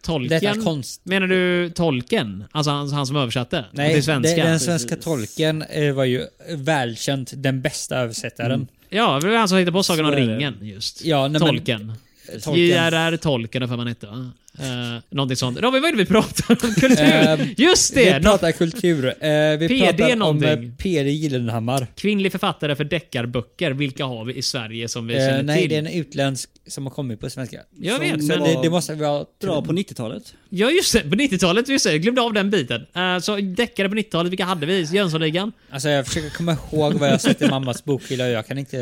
Detta
Tolkien.
är konst...
Menar du tolken? Alltså han, han som översatte?
Nej,
till svenska?
det- den svenska
Precis.
tolken eh, var ju välkänt den bästa översättaren.
Ja, det var han som hittade på Sagan om
Så är det.
ringen just.
Ja, nej, men-
tolken.
Tolkien.
J.R.R. Tolken, har jag för vad han hette va? Eh, någonting sånt. Robin, vad är det vi pratar om? Kultur?
Ehm,
Just det!
Vi
Nå-
pratar kultur. Eh, vi
PD
pratar
någonting.
om eh, PD Gyllenhammar.
Kvinnlig författare för deckarböcker, vilka har vi i Sverige som vi
Eh,
känner
nej,
till?
det är en utländsk som har kommit på svenska.
Jag
Så-
vet,
så
men-
det, det måste vi ha...
Bra på 90-talet.
Ja just det, på 90-talet, just det, jag glömde av den biten. Eh, så deckare på 90-talet, vilka hade vi? Jönssonligan?
Alltså jag försöker komma ihåg vad jag sett i mammas bokhylla och jag kan inte...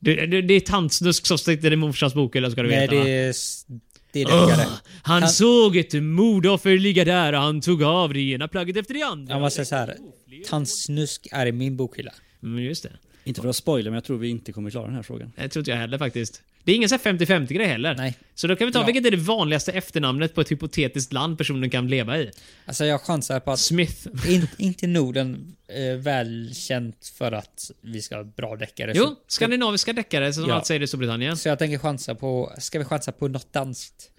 Det, det, det är tantsnusk som sitter i morsans bok eller ska du
Nej,
veta. va?
det är... s- Det är deckare.
Han, såg ett mordoffer ligga där och han tog av det ena plagget efter det andra.
Jag måste säga alltså så här. Tandsnusk är i min bokhylla.
Mm, just det.
Inte för att spoila, men jag tror vi inte kommer klara den här frågan.
Det tror inte jag heller faktiskt. Det är ingen sån här 50-50 grej heller.
Nej.
Så då kan vi ta
Ja.
vilket är det vanligaste efternamnet på ett hypotetiskt land personen kan leva i?
Alltså jag chansar på att...
Smith.
In, inte Norden eh, välkänt för att vi ska ha bra deckare.
Jo,
Så-
skandinaviska deckare som
Ja.
allt säger i Storbritannien.
Så jag tänker chansa på... Ska vi chansa på något danskt?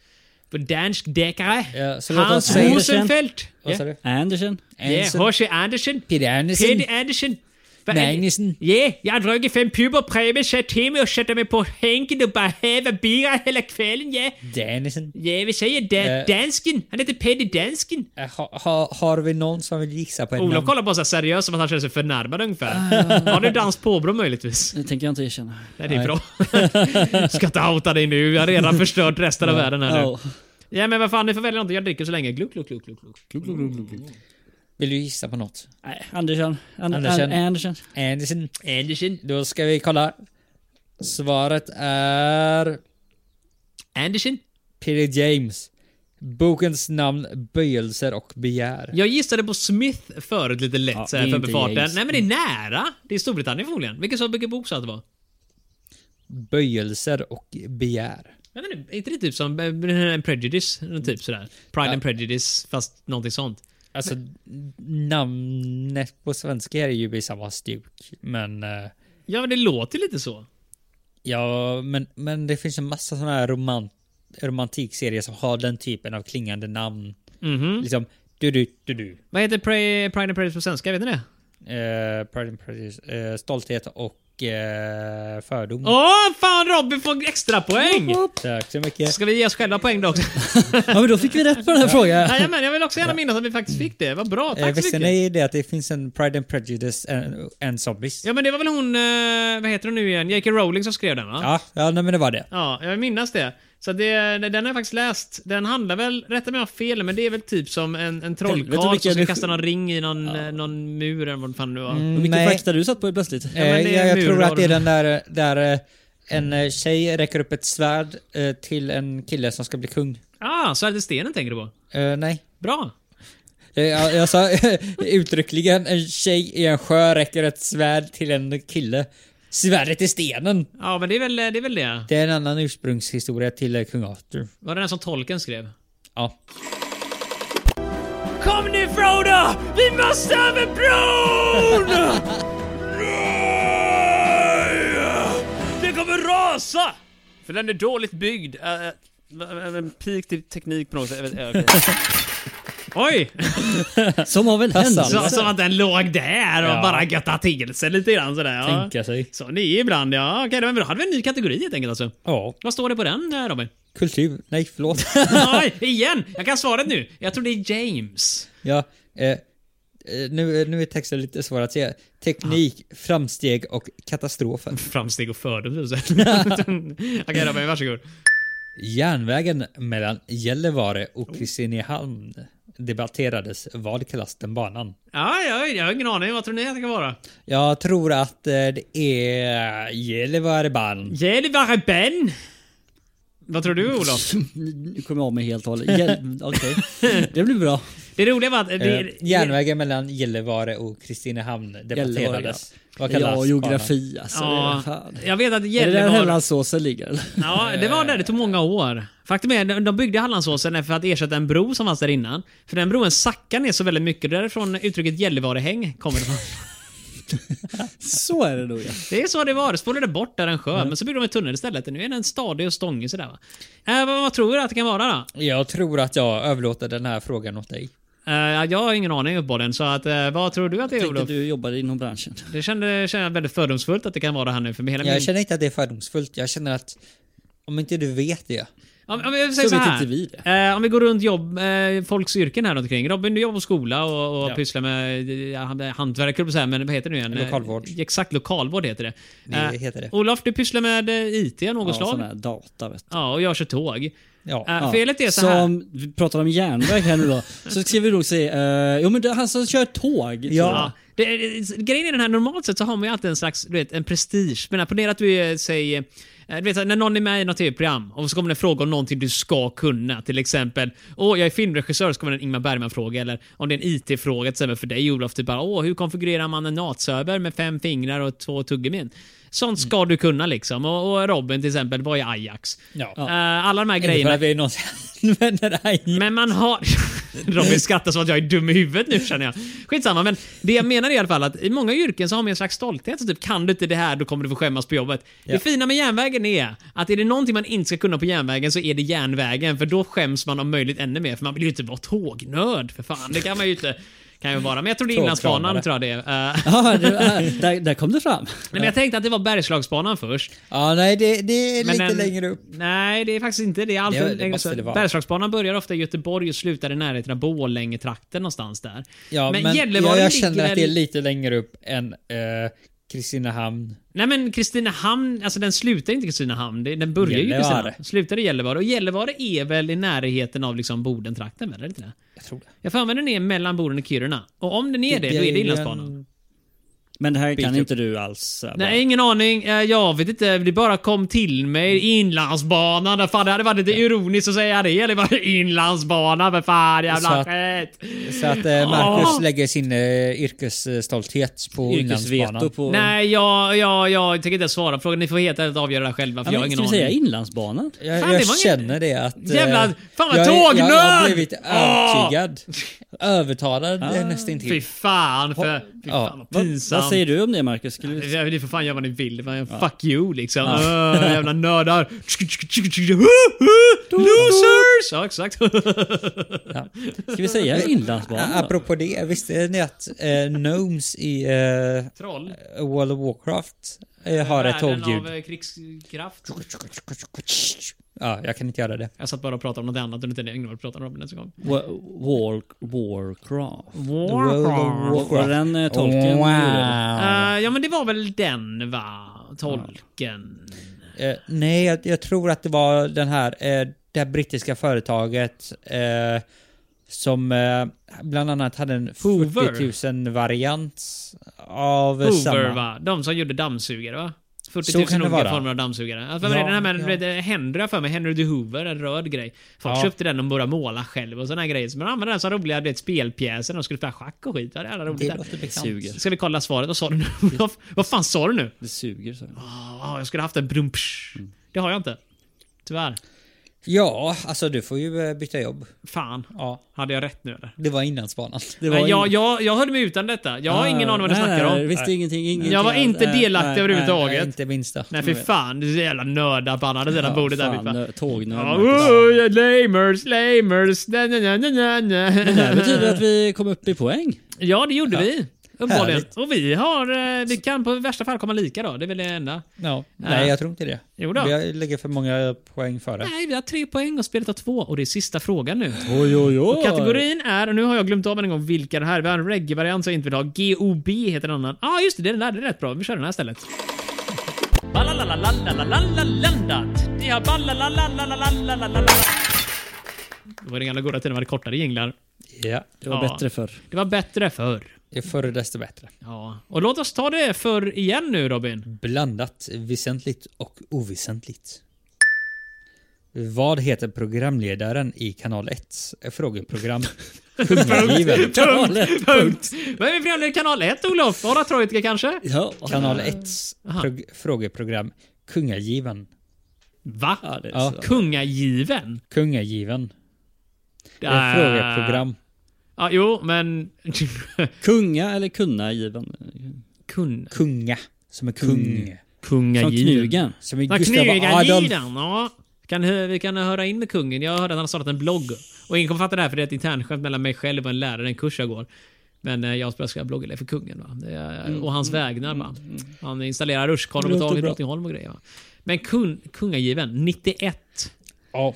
På dansk deckare.
Ja, så låt oss
Hans
säga...
Rosen-
Rosenfeldt.
Vad sa
Ja,
du?
Andersen.
Ja, H.C. Andersen.
Peter Andersen.
Peder Andersen. Vad är det?
Magnussen.
Ja, jag har druckit fem puber bredvid, satt hemma och satte mig på hänken och bara häva bira hela kvällen, ja.
Dennison.
Ja, vi säger da-
Eh.
dansken. Han heter Peder Dansken.
Eh, Ha, ha, har vi någon som vill gissa på en
Olof
namn?
kollar på sig seriöst som att han känner sig förnärmad ungefär. Har du danskt påbrå möjligtvis?
Det tänker jag inte erkänna.
Nej, det är bra. Ska inte outa dig nu, jag har redan förstört resten av världen här nu.
Ja.
Ja men vad fan, ni får välja något. Jag dricker så länge. Gluck, gluck, gluck, gluck. gluck.
Vill du gissa på något?
Nej, Andersen. An-
Andersen.
Andersen. An- Andersen.
Anderson.
Andersen.
Då ska vi kolla. Svaret är
Andersen.
Peter James. Bokens namn Böjelser och begär.
Jag gissade på Smith förut lite lätt
Ja,
så här
det
för
är inte
befarten.
James.
Nej men det är nära. Det är Storbritannien förmodligen. Vilken så vilken bok sa att det var?
Böjelser och begär.
Jag vet inte, är inte det typ som eh, Prejudice? Typ sådär. Pride and Prejudice fast någonting sånt.
Alltså namnet på svenska är ju i samma stuk. Men, eh,
Ja men det låter lite så.
ja, men, men det finns en massa sådana här romant romantikserier som har den typen av klingande namn.
Mm.
Mhm.
Liksom du du du du.
Vad heter Pre- Pride and Prejudice på svenska? Vet ni
Mm.
det?
Eh, Pride and Prejudice, eh, stolthet och eh, fördom.
Åh, fan Robin får extra poäng!
Tack så mycket.
Ska vi ge oss själva poäng då också?
Ja, men då fick vi rätt på den här frågan.
Nej, men jag vill också gärna minnas att vi faktiskt fick det. Vad bra,
Eh,
tack så
visste
mycket.
ni det att det finns en Pride and Prejudice and, and Zombies?
Ja men det var väl hon, eh, vad heter hon nu igen? J.K. Rowling som skrev den va?
Ja, ja nej, men det var det.
Ja, jag minns det. Så det, den har jag faktiskt läst. Den handlar väl, rätta mig om jag har fel, men det är väl typ som en, en
Vet du
trollkarl
vilka
som ska
du- Mm.
kasta någon ring i någon, eh, någon mur eller vad fan det var.
Hur mycket
Nej.
fakta du satt på plötsligt.
Eh,
men det är
jag jag
mur,
tror
då
att det är
har
den där, där eh, en eh, tjej räcker upp ett svärd eh, till en kille som ska bli kung.
Ah, Svärdet i stenen tänker du på?
Eh, nej.
Bra!
Eh, Jag, jag sa uttryckligen en tjej i en sjö räcker ett svärd till en kille. Svärdet i stenen!
Ja, men det är väl det. Är väl det.
Det är en annan ursprungshistoria till eh, kung Arthur.
Var det den som tolken skrev?
Ja.
Kom nu Frodo! Vi måste över bron! Nej! Det kommer rasa! För den är dåligt byggd. Eh, eh, En pik till teknik på något sätt. Jag vet- eh, okej. Oj!
Som av en
Hassan.
händelse.
Så, som att den låg där och
Ja.
bara göttade till sig lite grann sådär. Ja.
Tänka sig.
Så ni ibland ja. Okej, då hade vi en ny kategori helt enkelt alltså.
Ja.
Vad står det på den eh, Robin?
Kultur. Nej, förlåt.
Nej, igen! Jag kan svaret nu. Jag tror det är James.
ja, eh, eh, nu, nu är texten lite svår att se. Teknik, framsteg och katastrofen.
framsteg och fördom. typ så här. Okej Robin, varsågod.
Järnvägen mellan Gällivare
Oh.
och Kristinehamn debatterades. Vad kallas den banan?
Ja, jag, jag har ingen aning. Vad tror ni att det kan vara?
Jag tror att eh, det är Gällivarebanan.
Gällivare Ben. Vad tror du Olof?
Nu kommer jag av mig helt och hållet. Hjälp- Okej, det blir bra.
Det roliga var att... Det,
Eh, järnvägen mellan Gällivare och Kristinehamn debatterades. Vad kallas
Ja,
banan?
geografi alltså.
Ja,
Ja. Fan.
jag vet att
Är det där
Gällivare...
Hallandsåsen ligger? eller?
Ja, det var där. Det tog många år. Faktum är, de- de byggde Hallandsåsen för att ersätta en bro som fanns där innan. För den broen sackar ner så väldigt mycket. Därifrån uttrycket Gällivarehäng kommer det från.
Så är det nog ja.
Det är så det var. Det spolade bort där en sjö,
Mm.
men så byggde de en tunnel istället. Nu är den stadig och stångig sådär va. Eh, vad, vad tror du att det kan vara då?
Jag tror att jag överlåter den här frågan åt dig.
Eh, jag har ingen aning uppenbarligen, så att, eh, vad tror du att det är
Tänkte
Olof?
du jobbade inom branschen.
Det kände, kände jag väldigt
Mm.
fördomsfullt att det kan vara här nu för hela min...
Jag känner inte att det är fördomsfullt. Jag känner att om inte du vet det
Om, om vi säger
Så
så,
vet
här.
inte vi
Eh, om vi går runt jobb, eh, folks yrken här runt omkring. Robin, du jobbar på skola och, och
Ja.
pysslar med ja, hantverk, höll jag på att säga, men vad heter det nu igen?
Lokalvård.
Eh, Exakt, lokalvård heter det. Eh,
Det heter det.
Olof, du pysslar med eh, IT av något
Ja, sån
slag.
här data vet du.
Ja, och jag kör tåg.
Ja.
Eh,
Ja,
Felet är så här.
Som, vi pratar om järnväg här nu då. Så ska vi nog se, uh, jo men det, han som kör tåg.
Ja. Det, det, grejen är den här, normalt sett så har man ju alltid en slags, du vet, en prestige. Men ponera att du eh, säger, eh, du vet när någon är med i något tv-program och så kommer det en fråga om någonting du ska kunna. Till exempel, åh jag är filmregissör, så kommer det en Ingmar Bergman-fråga. Eller om det är en IT-fråga till exempel för dig Olof, typ bara, åh hur konfigurerar man en NAT-server med fem fingrar och två tuggummin? Sånt ska
Mm.
du kunna liksom. Och, och Robin till exempel, vad är Ajax?
Ja.
Eh, alla de här
Inte för
grejerna.
att vi någonsin använder det här i-
Men man har... Robin skrattar som att jag är dum i huvudet nu känner jag. Skitsamma, men det jag menar är i alla fall att i många yrken så har man en slags stolthet. Så typ, kan du inte det här, då kommer du få skämmas på jobbet. Det fina med järnvägen är att är det någonting man inte ska kunna på järnvägen så är det järnvägen. För då skäms man om möjligt ännu mer, för man vill ju inte vara tågnörd. För fan, det kan man ju inte. Kan ju vara. Men jag tror det är Inlandsbanan,
Tågkramare.
tror jag det är. Eh,
Ja, det, här- där, där kom det fram.
men jag tänkte att det var Bergslagsbanan först.
Ja, nej, det, det är
Men
lite
den-
längre upp.
Nej, det är faktiskt inte. Det är
Det-
alltför
det
länge
måste det
sedan.
vara.
Bergslagsbanan börjar ofta i Göteborg och slutar i närheten av Borlänge-trakten någonstans där.
Ja, men,
Gällivare
jag, jag
ligger
känner att
väl-
det är lite längre upp än eh, Kristinehamn.
Nej men Kristinehamn, alltså den slutar inte i Kristinehamn. Det- Den börjar ju i
Gällivare.
Kristinehamn. Slutar i Gällivare. Och Gällivare är väl i närheten av liksom Bodentrakten, eller inte det?
Jag tror det.
Jag får mig den är mellan Boden och Kiruna. Och om den är det, då är det Inlandsbanan.
Men det här kan
Bit upp.
inte du alls. eh, bara-
Nej, ingen aning. Eh, Jag vet inte. Det bara kom till mig. Inlandsbanan. där Fan, det hade varit lite ironiskt att säga det. Eller bara Inlandsbanan. Men fan, jävla
Så
skit.
Så att eh, Marcus
Ah.
lägger sin eh, yrkesstolthet på
Yrkesveto
Inlandsbanan.
på...
Nej, jag, jag, jag tänker inte svara på frågan. Ni får helt ärligt avgöra det här själva, för
Ja,
jag har
men,
ingen
ska vi
aning.
säga Inlandsbanan?
Jag,
Fan, det
jag
var ingen-
känner det att... eh,
Jävla- fan vad
jag, jag, jag
tågnörd! Ah!
har blivit övertygad. Övertalad ah.
Fy
nästintill.
fan, för, fy
Ja.
fan vad
Vad,
pinsamt.
vad säger du om det Marcus? Skulle du...
Ja, Ni får fan göra vad ni vill. Men Fuck you liksom. Öh, jävla nördar. Losers! Ja, exakt.
Ska vi säga Inlandsbanan då?
Apropå det, visste ni att eh, Gnomes i eh,
Troll.
World of Warcraft eh, har ett
Världen
tågljud.
av eh, krigskraft.
Ja, jag kan inte göra det.
Jag satt bara och pratade om något annat under tiden jag ägnade mig åt att prata om Robin ens en gång.
Wa- War, Warcraft.
World of
Warcraft. Var den eh, tolken?
Wow.
Eh, ja men det var väl den va? Tolken.
Eh, nej, jag, jag tror att det var den här, eh, det här brittiska företaget eh, som eh, bland annat hade en
Hoover.
40 000 variant av eh,
Hoover
samma.
va? De som gjorde dammsugare va? 40
Så
000
kan det
olika
vara.
former av dammsugare. Alltså,
Ja,
ja, den här med,
ja.
du vet, Henry har för mig, Henry de Hoover, en röd grej. Folk
Ja.
köpte den och började måla själv och såna här grejer. Så man använde den som roliga du vet, spelpjäser när de skulle spela schack och skit. Ja, Det är alla roligt.
Det
där.
låter bekant.
Suger.
Ska vi kolla svaret? Vad sa du nu Olof? Vad fan sa du nu?
Det suger så.
Ah, jag skulle haft en brumpsch.
Mm.
Det har jag inte. Tyvärr.
Ja, alltså du får ju eh, byta jobb.
Fan.
Ja,
Hade jag rätt nu eller?
det var Ah, Inlandsbanan.
Det
Nej, jag,
ingen-
jag, jag hörde mig utan detta. Jag har ingen aning vad du
Nej, nej,
snackar
Jag
om.
visste ingenting. ingenting
Jag var
alls.
inte
Nej,
delaktig
nej,
överhuvudtaget.
Nej, inte minsta.
Nej, fy fan. Du är så jävla nördar på andra sidan
Mm. Ja,
bordet där. fy
fan,
fan.
nö- Tågnörd.
Ja,
Marcus.
oh, yeah, lamers, lamers. Na, na, na, na, na,
Det här
na.
betyder att vi kom upp i poäng.
Ja, det gjorde vi. Uppenbarligen.
Härligt.
Och vi har... eh, Vi kan på värsta fall komma lika då. Det är väl det enda.
Ja, nej, jag tror inte det.
Jo då.
Jag lägger för många poäng före.
Nej, vi har tre poäng och spelet har två. Och det är sista frågan nu.
Oj, oj, oj.
Kategorin är, och nu har jag glömt av en gång vilka det här är. Vi har en reggae-variant som jag inte vill ha. GOB heter en annan. Ja, ah, just det. Det är den där. Det är rätt bra. Vi kör den här istället. Ballalalalalalalandat. Ni har ballalalalalalalalala. Det var den gamla goda tiden man hade kortare jinglar.
Ja,
Det var
Ja.
bättre förr.
Det var bättre förr.
ju förr desto bättre.
Ja. Och låt oss ta det förr igen nu Robin.
Blandat, väsentligt och oväsentligt. Vad heter programledaren i kanal 1 frågeprogram? Kungariven.
Punkt. Vad är vi programledare i kanal 1 Olof? Norra Troika kanske?
Ja.
Kanal 1 prog- frågeprogram Kungagiven.
Va?
Ja, det är
Ja.
så.
Kungagiven?
Kungagiven. Det är
Äh,
ett frågeprogram.
Ja, jo, men...
Kunga eller kunna given.
Kun...
Kunga. Som är kung.
Som
Kungagiven.
knugen.
Som är
Ja,
Gustav Adolf.
Knugagiden. Ja. Kan, hö- vi kan höra in med kungen. Jag hörde att han har startat en blogg. Och ingen kommer fatta det här för det är ett internskämt mellan mig själv och en lärare, en kurs jag går. Men eh, jag ska skriva bloggen för kungen va? Det är,
Mm.
och hans vägnar va? Han installerar rutschkanor på
Låter
taget i
bra.
Drottningholm och grejer va? Men kun, kungagiven, 91.
Ja.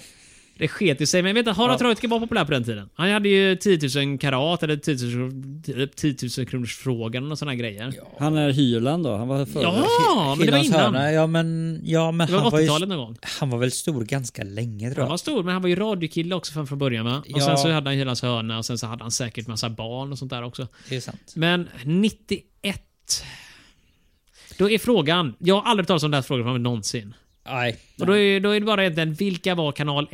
Det sket i sig, men vänta, Harald Treutiger var populär på den tiden. Han hade ju 10 000 karat eller 10 000, 10 000 kronors frågan och sådana grejer. Ja,
Han är Hyland då. Han var före.
men det var
Killans
innan.
hörna, Ja men, ja, men
Det var
han, var ju,
80-talet någon gång.
han var väl stor ganska länge tror
Han
jag.
var stor, men han var ju radiokille också från, från början va? Och
Ja.
sen så hade han Hylands hörna och sen så hade han säkert massa barn och sånt där också.
Det är sant.
Men 91... Då är frågan, jag har aldrig hört talas om den här frågan från någonsin.
Nej,
Och då är, då är det bara egentligen, vilka var kanal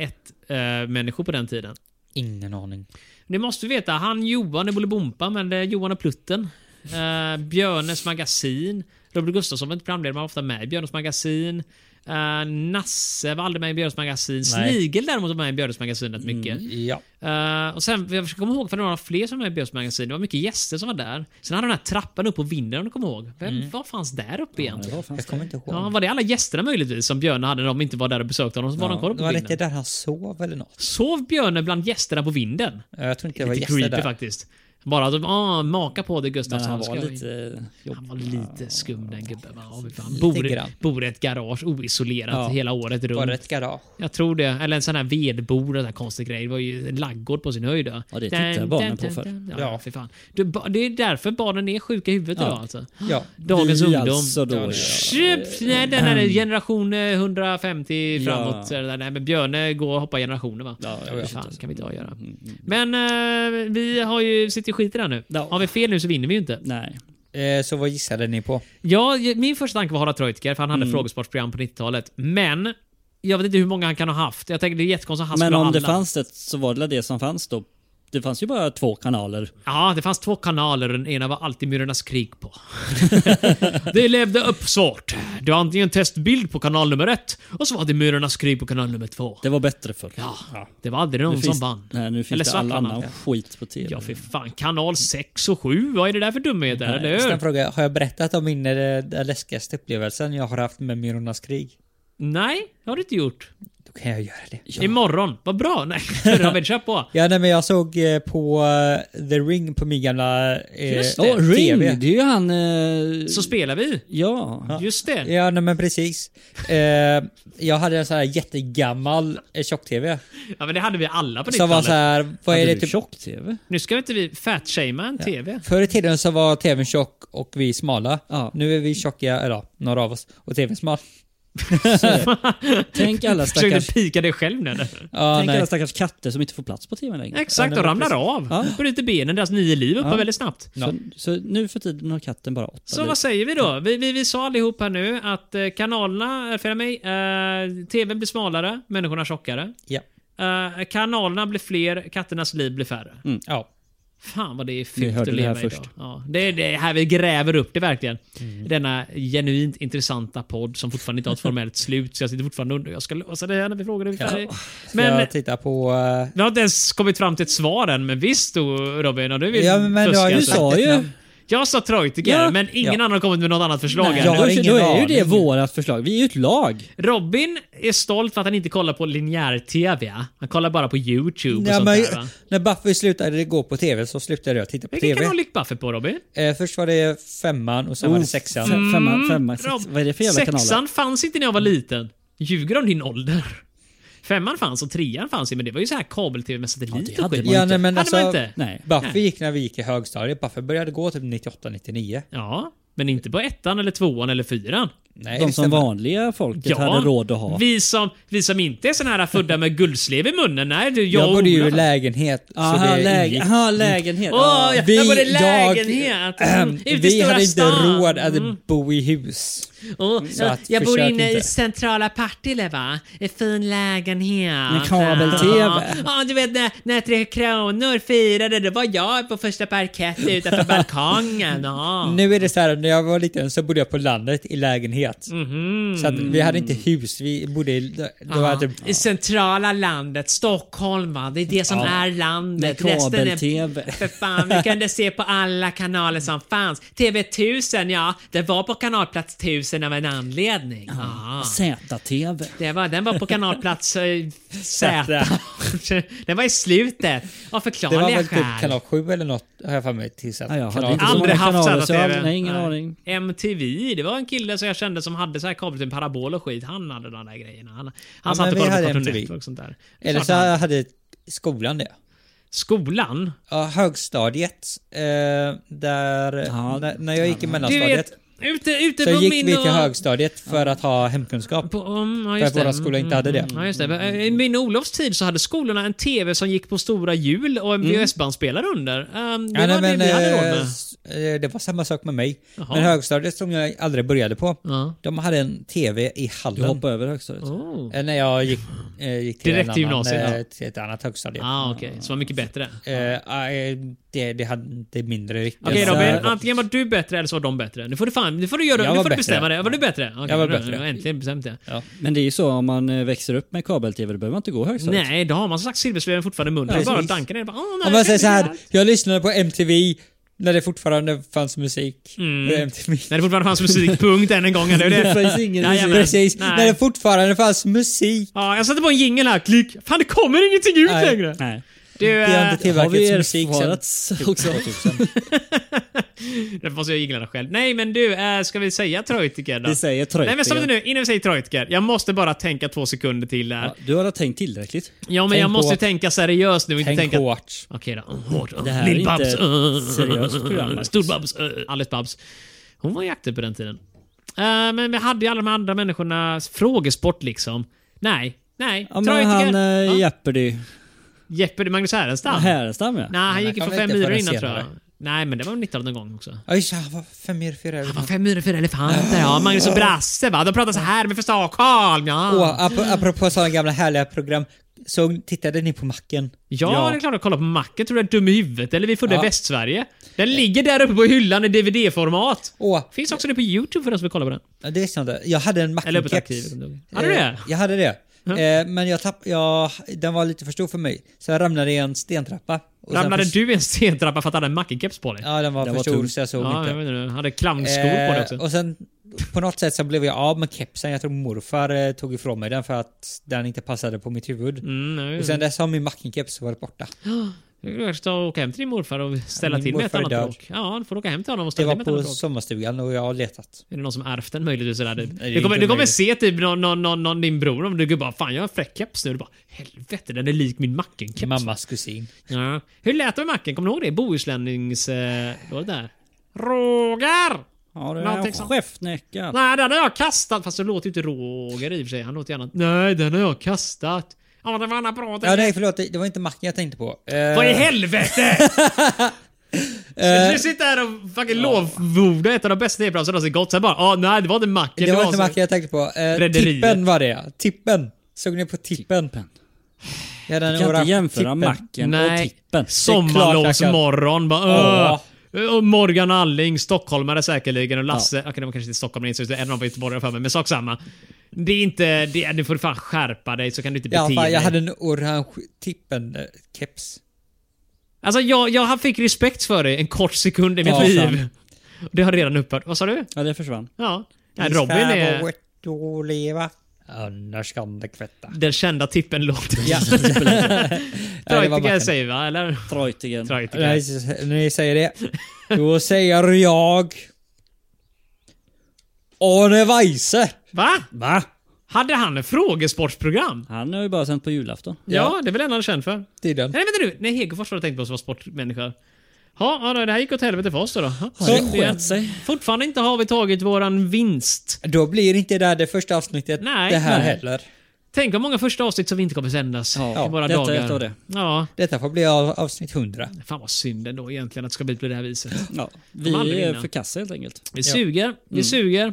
1-människor på den tiden?
ingen aning.
Ni måste veta, han Johan i Bolibompa, men det är Johan och Plutten. Eh, Björnes magasin. Robert Gustafsson var inte programledare, men han var ofta med i Björnes magasin. Eh, Nasse var aldrig med i Björnes magasin.
Nej. Mm.
Snigel däremot var med i Björnes magasin rätt mycket.
Ja.
Eh, och sen, jag försöker komma ihåg för det var några fler som var med i Björns magasin. Det var mycket gäster som var där. Sen hade de den här trappan upp på vinden om du kommer ihåg. Vem, Vad fanns där uppe egentligen?
Jag kommer inte ihåg.
Ja, var det alla gästerna möjligtvis som Björne hade när de inte var där och besökte honom? Så var de kvar uppe på
var det inte
vinden.
där han sov eller något?
Sov Björne bland gästerna på vinden?
Jag tror inte det var
Lite
gäster
creepy
där.
faktiskt. Bara att de, ah, maka på det
Men
Gustafsson.
han
ska
var
vi-
lite...
han var lite skum den gubben. va? Ja, vi fan. Bor, i-
grann.
bor i ett garage oisolerat
Ja.
hela året runt.
Var det ett garage?
Jag tror det. Eller en sån här vedbord, en sån här konstig grej. Det var ju en laggård på sin höjd. Ja,
det tittar barnen på för.
Ja,
Ja.
för fan. Du, ba- det är därför barnen är sjuka i huvudet
Ja.
idag alltså.
Ja.
Dagens
Vi
ungdom.
alltså då, ja. Ehm.
Köp, nej, den här generation eh, 150
Ja.
framåt. eller Nej, men Björne går och hoppar generationer va?
Ja, jag
För
vet Mm,
fan kan vi inte ha att göra. Men eh, vi har ju, sitter ju skit i det här nu.
Ja.
Har vi fel nu så vinner vi ju inte.
Nej.
Eh, så vad gissade ni på?
Ja, min första tanke var Harald Treutiger, för han
Mm.
hade frågesportprogram på 90-talet. Men jag vet inte hur många han kan ha haft. Jag tänker det är jättekonstigt att han
Men
skulle ha
om det
alla.
fanns det så var det väl det som fanns då. Det fanns ju bara två kanaler.
Ja, det fanns två kanaler och den ena var alltid Myrornas krig på. det levde upp svårt. Du har antingen testbild på kanal nummer ett och så var det Myrornas krig på kanal nummer två.
Det var bättre förr.
Ja, det var aldrig någon
Nu
som
finns-
vann.
Nej, nu finns
Eller
det
svart
all
vann
annan
alltid.
skit på tv.
Ja, för fan. Kanal 6 och 7, vad är det där för dumheter? Eller hur?
Sen frågar jag, har jag berättat om min eh, den läskigaste upplevelsen jag har haft med Myrornas krig?
Nej, det har du inte gjort.
Då kan jag göra det.
Imorgon. Vad bra. Nej, Robin, kör på.
Ja, nej, men jag såg eh, på eh, The Ring på min gamla eh,
Just
Åh, Ring!
TV.
Det är ju han... Eh,
Så spelar vi.
ja.
Just det.
Ja, nej, men precis. Eh, jag hade en sån här jättegammal eh, tjock-TV.
Ja, men det hade vi alla på
Som var
90-talet.
så här, vad
Hade
är det
du
typ?
tjock-tv?
Nu ska vi inte vi fatshamea en TV.
Förr i tiden så var TVn tjock och vi smala.
Ja.
Nu är vi tjocka, eller ja, några av oss, och TVn smal.
Tänk alla
Försökte
stackars,
pika dig själv nu eller?
Ja,
tänk
nej.
alla stackars katter som inte får plats på tv längre.
Exakt, och ramlar av. Bryter benen, deras nio liv uppe väldigt snabbt.
Så, så nu för tiden har katten bara åtta
Så
liv.
vad säger vi då? Vi, vi, vi sa allihop här nu att eh, kanalerna, eh, för mig, eh, TVn blir smalare, människorna tjockare.
Ja.
Eh, kanalerna blir fler, katternas liv blir färre.
ja.
Fan vad det är
Ni
fult
hörde
att
det här
leva idag.
först.
Ja, det är det här vi gräver upp det verkligen. Denna genuint intressanta podd som fortfarande inte har ett formellt slut. Så jag sitter fortfarande och undrar, jag ska lösa det här när vi frågar dig. Ja.
Ska
Men
jag titta på... eh,
vi har inte ens kommit fram till ett svar än, men visst då Robin, om du vill
Ja, men du
fuska
har ju
så-
sagt
sa
ett
ju-
namn.
Jag sa Treutiger,
Ja.
men ingen
Ja.
annan har kommit med något annat förslag
Nej.
än.
Jag har
då,
ingen
då är ju
aning.
det vårat förslag. Vi är ju ett lag.
Mm. Robin är stolt för att han inte kollar på linjär-TV. Han kollar bara på YouTube och
Nej,
sånt
men,
där. Va?
när Buffy slutade gå på TV så slutade jag titta på
Vilken
TV.
kanal gick Buffy på Robin?
Eh, först var det femman och sen var det sexan.
Mm.
Fem, femma, femma,
Rob,
sex, vad är det för jävla
Sexan
kanaler?
fanns inte när jag var liten. Ljuger om din ålder. Femman fanns och trean fanns ju, men det var ju så här kabel-tv med satellit
Ja,
och
det hade
skit.
man
Ja, nej, men
Hade man
alltså,
inte?
Nej.
Buffy gick när vi gick i högstadiet. Buffy började gå typ 98-99.
Ja, men inte på ettan eller tvåan eller fyran.
Nej,
De
det
som
stämmer.
vanliga folket
Ja,
hade råd att ha.
Vi, som, vi som inte är såna här födda med guldslev i munnen. Nej, du, jag,
Jag
och
bodde ju
Ola.
i lägenhet. så
Aha,
det
läge,
ingick.
aha, lägenhet.
Åh, jag, jag
Vi-
bodde i
jag-
lägenhet.
Ehm,
Mm, ute i
vi
stora
hade inte
stan.
råd att
Mm.
bo i hus.
Åh, jag,
att
jag bor
försök
inne i
inte.
centrala Partille va? En fin lägenhet.
Med kabel-tv.
Ja, Ja, du vet när, när Tre Kronor firade, då var jag på första parkett utanför balkongen. Ja.
Nu är det så här, när jag var liten så bodde jag på landet i lägenhet.
Mhm.
Så att vi hade inte hus, vi bodde i... Det var
Ja,
typ,
I centrala landet, Stockholm va? Det är det som är
Med
landet. Resten är
kabel-tv.
För fan, vi kunde se på alla kanaler
Mm.
som fanns. TV1000, ja, det var på kanalplats 1000 av en anledning. Ja.
Z-tv.
Det var, den var på kanalplats eh, Z. den var i slutet, av
det var
förklarliga
väl typ
skäl.
kanal 7 eller något. har jag för mig tills att
Nej, jag hade
kanalen-
inte så
Aldrig
många
haft
kanaler,
sådana
så jag
TV.
hade- nej, ingen aning.
MTV, det var en kille som jag kände som hade så här kabel till en parabol och skit. Han hade de där grejerna. Han, han satt
men
och
vi
kollade
hade
på Cartoon
MTV.
Network och sånt där. Det är
Eller
klart
så
han-
hade skolan det.
Skolan?
Ja, högstadiet. Eh, där,
Ja.
när, när jag gick i
Du
mellanstadiet.
vet, ute, ute
Alltså, Så
på
gick
min
vi till
och...
högstadiet för att ha hemkunskap.
På, um, ja,
För
just
att våra
det. Mm,
skolor inte hade det.
Ja, just det. eh, I min och Olofs tid så hade skolorna en TV som gick på stora hjul och en VHS-bandspelare under. Ehm, det
Mm. Ja,
var
nej,
det vi hade råd
eh,
med.
s- eh, det var samma sak med mig.
Jaha.
Men högstadiet som jag aldrig började på.
Ja.
De hade en TV i hallen.
Du hoppade över högstadiet.
Oh.
Eh, När jag gick, eh, gick till,
Direkt
en
till
annan,
gymnasiet,
eh,
ja.
till ett annat högstadiet.
Ah, okej. Så var mycket bättre.
Eh, eh, det, det hade inte mindre riktigt.
Okej
Jag var-
Robin, antingen var du bättre eller så var de bättre. Nu får du fan, nu får du göra,
Jag var
nu får
bättre.
du bestämma det. Var du bättre? Okej,
Jag var
nu-
bättre.
nu har jag Äntligen bestämt det.
Men det är ju så, om man eh, växer upp med kabel-tv, då behöver man inte gå högstadiet.
Nej, då har man som sagt silverslöjan fortfarande i munnen.
Ja,
Det är bara
precis.
dankar ner. Bara, "Åh, nej,
Om man säger så
jag kan
här,
inte
jag lyssnade på MTV när det fortfarande fanns musik
Mm.
på MTV.
göra." När det fortfarande fanns musikpunkt än en gång. Eller hur det
Det finns ingen
Jajamän.
Precis,
Nej.
när det fortfarande fanns musik.
Ja, jag satte på en jingel här, klick. Fan, det kommer ingenting ut
Nej.
längre.
Nej.
Du,
Det har
eh,
inte
Har vi
tillverkats musik sen.
erfarits också?
därför eh, måste jag jinglarna själv. Nej, men du, eh, ska vi säga Troitiker då?
Vi säger
Nej, men stopp
tröjtiga.
nu. Innan vi säger Troitiker. Jag måste bara tänka två sekunder till där.
Ja, du har tänkt tillräckligt.
Ja, men
Tänk
jag måste ju
på-
tänka seriöst nu. och Inte
Tänk
tänka...
hårt.
Okej då. Hårt.
Det här är inte
Lill-Babs.
ett seriöst program, Marcus.
Stor-Babs. eh, Alice Babs. Hon var ju aktiv på den tiden. Eh, Men vi hade ju alla de andra människornas frågesport liksom. Nej. Nej.
Ja, men
Troitiker.
han
Ja.
äh, Jeopardy.
Jeppe det är Magnus Härenstam.
Härenstam ja.
Nej, han
Nej,
gick ju
han
för
var
fem
inte
myror
förrän
innan tror
senare.
jag. Nej, men det var 90 någon gång också.
Oj, så han var fem myror, fyra
Han var
elefanter.
fem myror, fyra elefanter. Ja, Magnus och Brasse va? De pratar så här med för Stockholm. Ja.
Åh, ap- apropå sådana gamla härliga program. Så tittade ni på macken?
Ja,
Ja.
det är klart att kolla på macken. Tror du jag är dum i huvudet? Eller vi födde
Ja.
Västsverige. Den ligger där uppe på hyllan i DVD-format.
Åh,
Finns också det på YouTube för den som vill kolla på den.
Ja, Det visste jag inte. Jag hade en
Eller på ett arkiv.
mackenkeps.
Hade du
Eh,
det?
Jag hade det. Eh, men jag tapp, jag, den var lite för stor för mig. Så jag ramlade i en stentrappa. Och sen
Ramlade
förs-
du i en stentrappa för att du hade en mackenkeps på dig?
Ja, den var
Den
för
var
stor
tung.
så jag såg
Ja,
inte.
jag vet inte. Hade clownskor på dig också.
Eh, och sen på något sätt så blev jag av med kepsen. Jag tror morfar eh, tog ifrån mig den för att den inte passade på mitt huvud.
Mm, nej,
Och sen dess har min mackenkeps varit borta.
Du kanske ska åka hem till din morfar och ställa
min
till med ett
morfar är
annat
död.
bråk. Ja, du får åka hem till honom och
Det
ställa
var
till med ett
på
annat bråk.
sommarstugan och jag har letat.
Är det någon som ärvt den möjligtvis? Eller? Du,
inte
kommer, du kommer
möjligt.
se typ någon, någon, någon, någon din bror om du går bara Fan jag har en fräck keps nu. Du bara Helvete den är lik min mackenkeps.
Mammas kusin.
Ja. Hur lät det med macken? Kommer du ihåg det? Bohuslännings... Eh, vad var det där? Roger!
Ja, det
Någonting
är
sånt.
Skäftnäcka.
Nej, den har jag kastat. Fast det låter ju inte Roger i och för sig. Han låter ju annat. Nej, den har jag kastat. Ja, det var annat bra.
Ja, nej förlåt, det det var inte macken jag tänkte på. Eh,
Vad i helvete! Ska du sitta här och fucking lovorda ett av de bästa tv-programmen som någonsin gått? Sen bara, ah, nej det var inte macken.
det var inte
så-
macken jag tänkte på. Eh,
Rederiet.
tippen var det ja. Tippen. Såg ni på tippen? Ja, den
Du kan
orange
inte jämföra
tippen.
macken
Nej.
och tippen.
Sommarlovsmorgon. Bara,
Ja.
"Åh." Och Morgan Alling, stockholmare säkerligen och Lasse. Okej, de var kanske inte stockholmare, så det är en av dem var göteborgare för mig, men sak samma. Det är inte... Det, är- nu får du fan skärpa dig så kan du inte bete
I alla fall,
dig.
E.
jag hade en orange eh, tippen-keps.
Alltså jag, jag fick respekt för dig en kort sekund i mitt
Ja,
liv.
fan.
Det har redan upphört. Vad sa du?
Ja, det försvann.
Ja. Nej, Robin är...
att leva, annars kan det kvätta.
Den kända tippen-låten.
Ja. Ja, det var
Trajtiker
macken.
säger vi va? Eller?
Treutigen.
Trajtiker.
Nej, när ni säger det, då säger jag... Arne Weise!
Va?
Va?
Hade han ett frågesportsprogram?
Han har ju bara sänt på julafton.
Ja, det är väl en han är känd för.
Tiden.
Nej, vänta nu. Nej, Hegerfors var det tänkt på som var sportmänniska. Ja, ja, det här gick åt helvete för oss då. då. Ja,
det
synd igen.
sket sig.
Fortfarande inte har vi tagit våran vinst.
Då blir inte det här det första avsnittet
Nej,
det här
nej.
heller.
Tänk vad många första avsnitt som vi inte kommer sändas
Ja,
i våra
detta är
dagar.
ett av det.
Ja,
Detta får bli av- avsnitt 100.
fan vad synd ändå egentligen att det ska bli på det här viset.
Ja,
Kommer aldrig
vi är
vinna.
för kassa helt enkelt.
Vi suger,
Mm.
vi suger.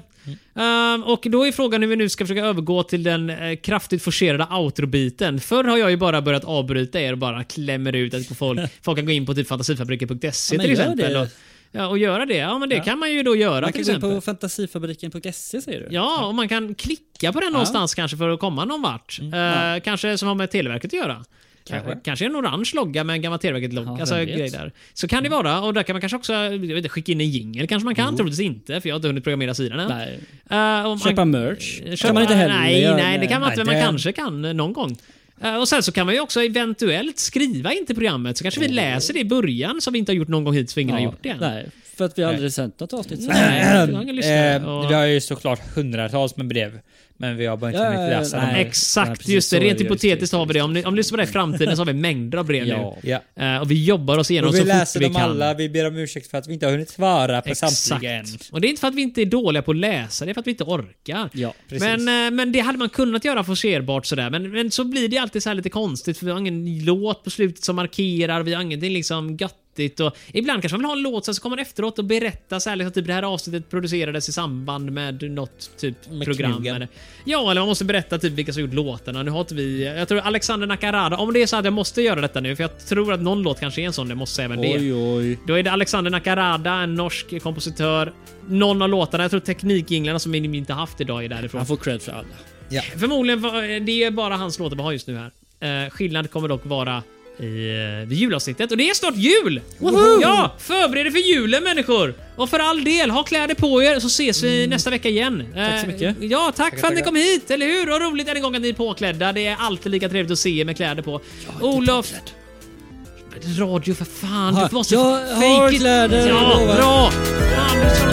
Ehm, och då är frågan hur vi nu ska försöka övergå till den eh, kraftigt forcerade outro-biten. Förr har jag ju bara börjat avbryta er och bara klämmer ut att folk, folk kan gå in på typ fantasifabriken.se
Ja, men
till
gör
exempel.
det.
Och, ja, och göra det. Ja, men det kan man ju då göra till
Man kan gå in
exempel.
på fantasifabriken.se E, säger du?
Ja, och man kan klicka på den någonstans kanske för att komma någon vart. Eh, Kanske som har med Televerket att göra. Kanske. kanske en orange logga med en gammal Televerket-logga.
Ja,
alltså,
vem vet?
grejer där. Så kan det vara. Och där kan man kanske också jag vet, inte, skicka in en jingel. kanske man kan. Troligtvis inte, för jag har inte hunnit programmera sidan än.
Nej.
Eh, om man-
Köpa merch.
Köpa-
kan man inte heller
Nej,
göra.
nej, det kan man inte. Men man
Nej, det-
kanske kan eh, någon gång. Eh, Och sen så kan man ju också eventuellt skriva in till programmet så kanske vi läser det i början som vi inte har gjort någon gång hittills för ingen har gjort det än.
Nej, för att vi har aldrig sänt något avsnitt.
Nej, vi har ingen lyssnare.
Eh,
Och-
vi har ju såklart hundratals med brev. Men vi har bara inte
Ja,
hunnit läsa
nej.
dem.
Exakt,
Nej, precis,
just
så
det.
är det
Rent
ju.
hypotetiskt har vi det. Om ni, om ni lyssnar på det i framtiden så har vi mängder av brev
Ja.
nu.
Ja.
Eh, och vi jobbar oss igenom
Och vi
så
läser
fort vi
dem
kan.
alla, vi ber om ursäkt för att vi inte har hunnit svara på
Exakt.
samtliga än.
Och det är inte för att vi inte är dåliga på att läsa, det är för att vi inte orkar.
Ja,
precis.
men, eh, men det hade man kunnat göra forcerbart sådär. Men, men så blir det alltid så här lite konstigt för vi har ingen låt på slutet som markerar, vi har ingenting liksom göttigt. Och ibland kanske man vill ha en låt, sen så kommer man efteråt och berättar så här, liksom, typ det här avsnittet producerades i samband med något typ
Med
program.
kniven.
Eller, ja, eller man måste berätta typ vilka som gjort låtarna. Nu har inte vi... Jag tror Alexander Nakarada, om det är så att jag måste göra detta nu, för jag tror att någon låt kanske är en sån, jag måste säga även det.
Oj, oj.
Då är det Alexander Nakarada, en norsk kompositör. Någon av låtarna, jag tror teknikinglarna som vi inte haft idag är därifrån.
Han får cred för alla.
Förmodligen, var- det är bara hans låtar vi har just nu här. Eh, skillnad kommer dock vara i, eh, vid julavsnittet. Och det är snart jul! Ja! Förbered er för julen människor! Och för all del, ha kläder på er så ses vi nästa vecka igen. Tack
Mm. så mycket.
Ja, tack för att ni kom hit, eller hur? Och roligt än en gång att ni är påklädda. Det är alltid lika trevligt att se er med kläder på. Olof... Radio för fan,
Aha,
du måste
jag
fake
har
it. Ja,
kläder, jag lovar.
bra! Andersson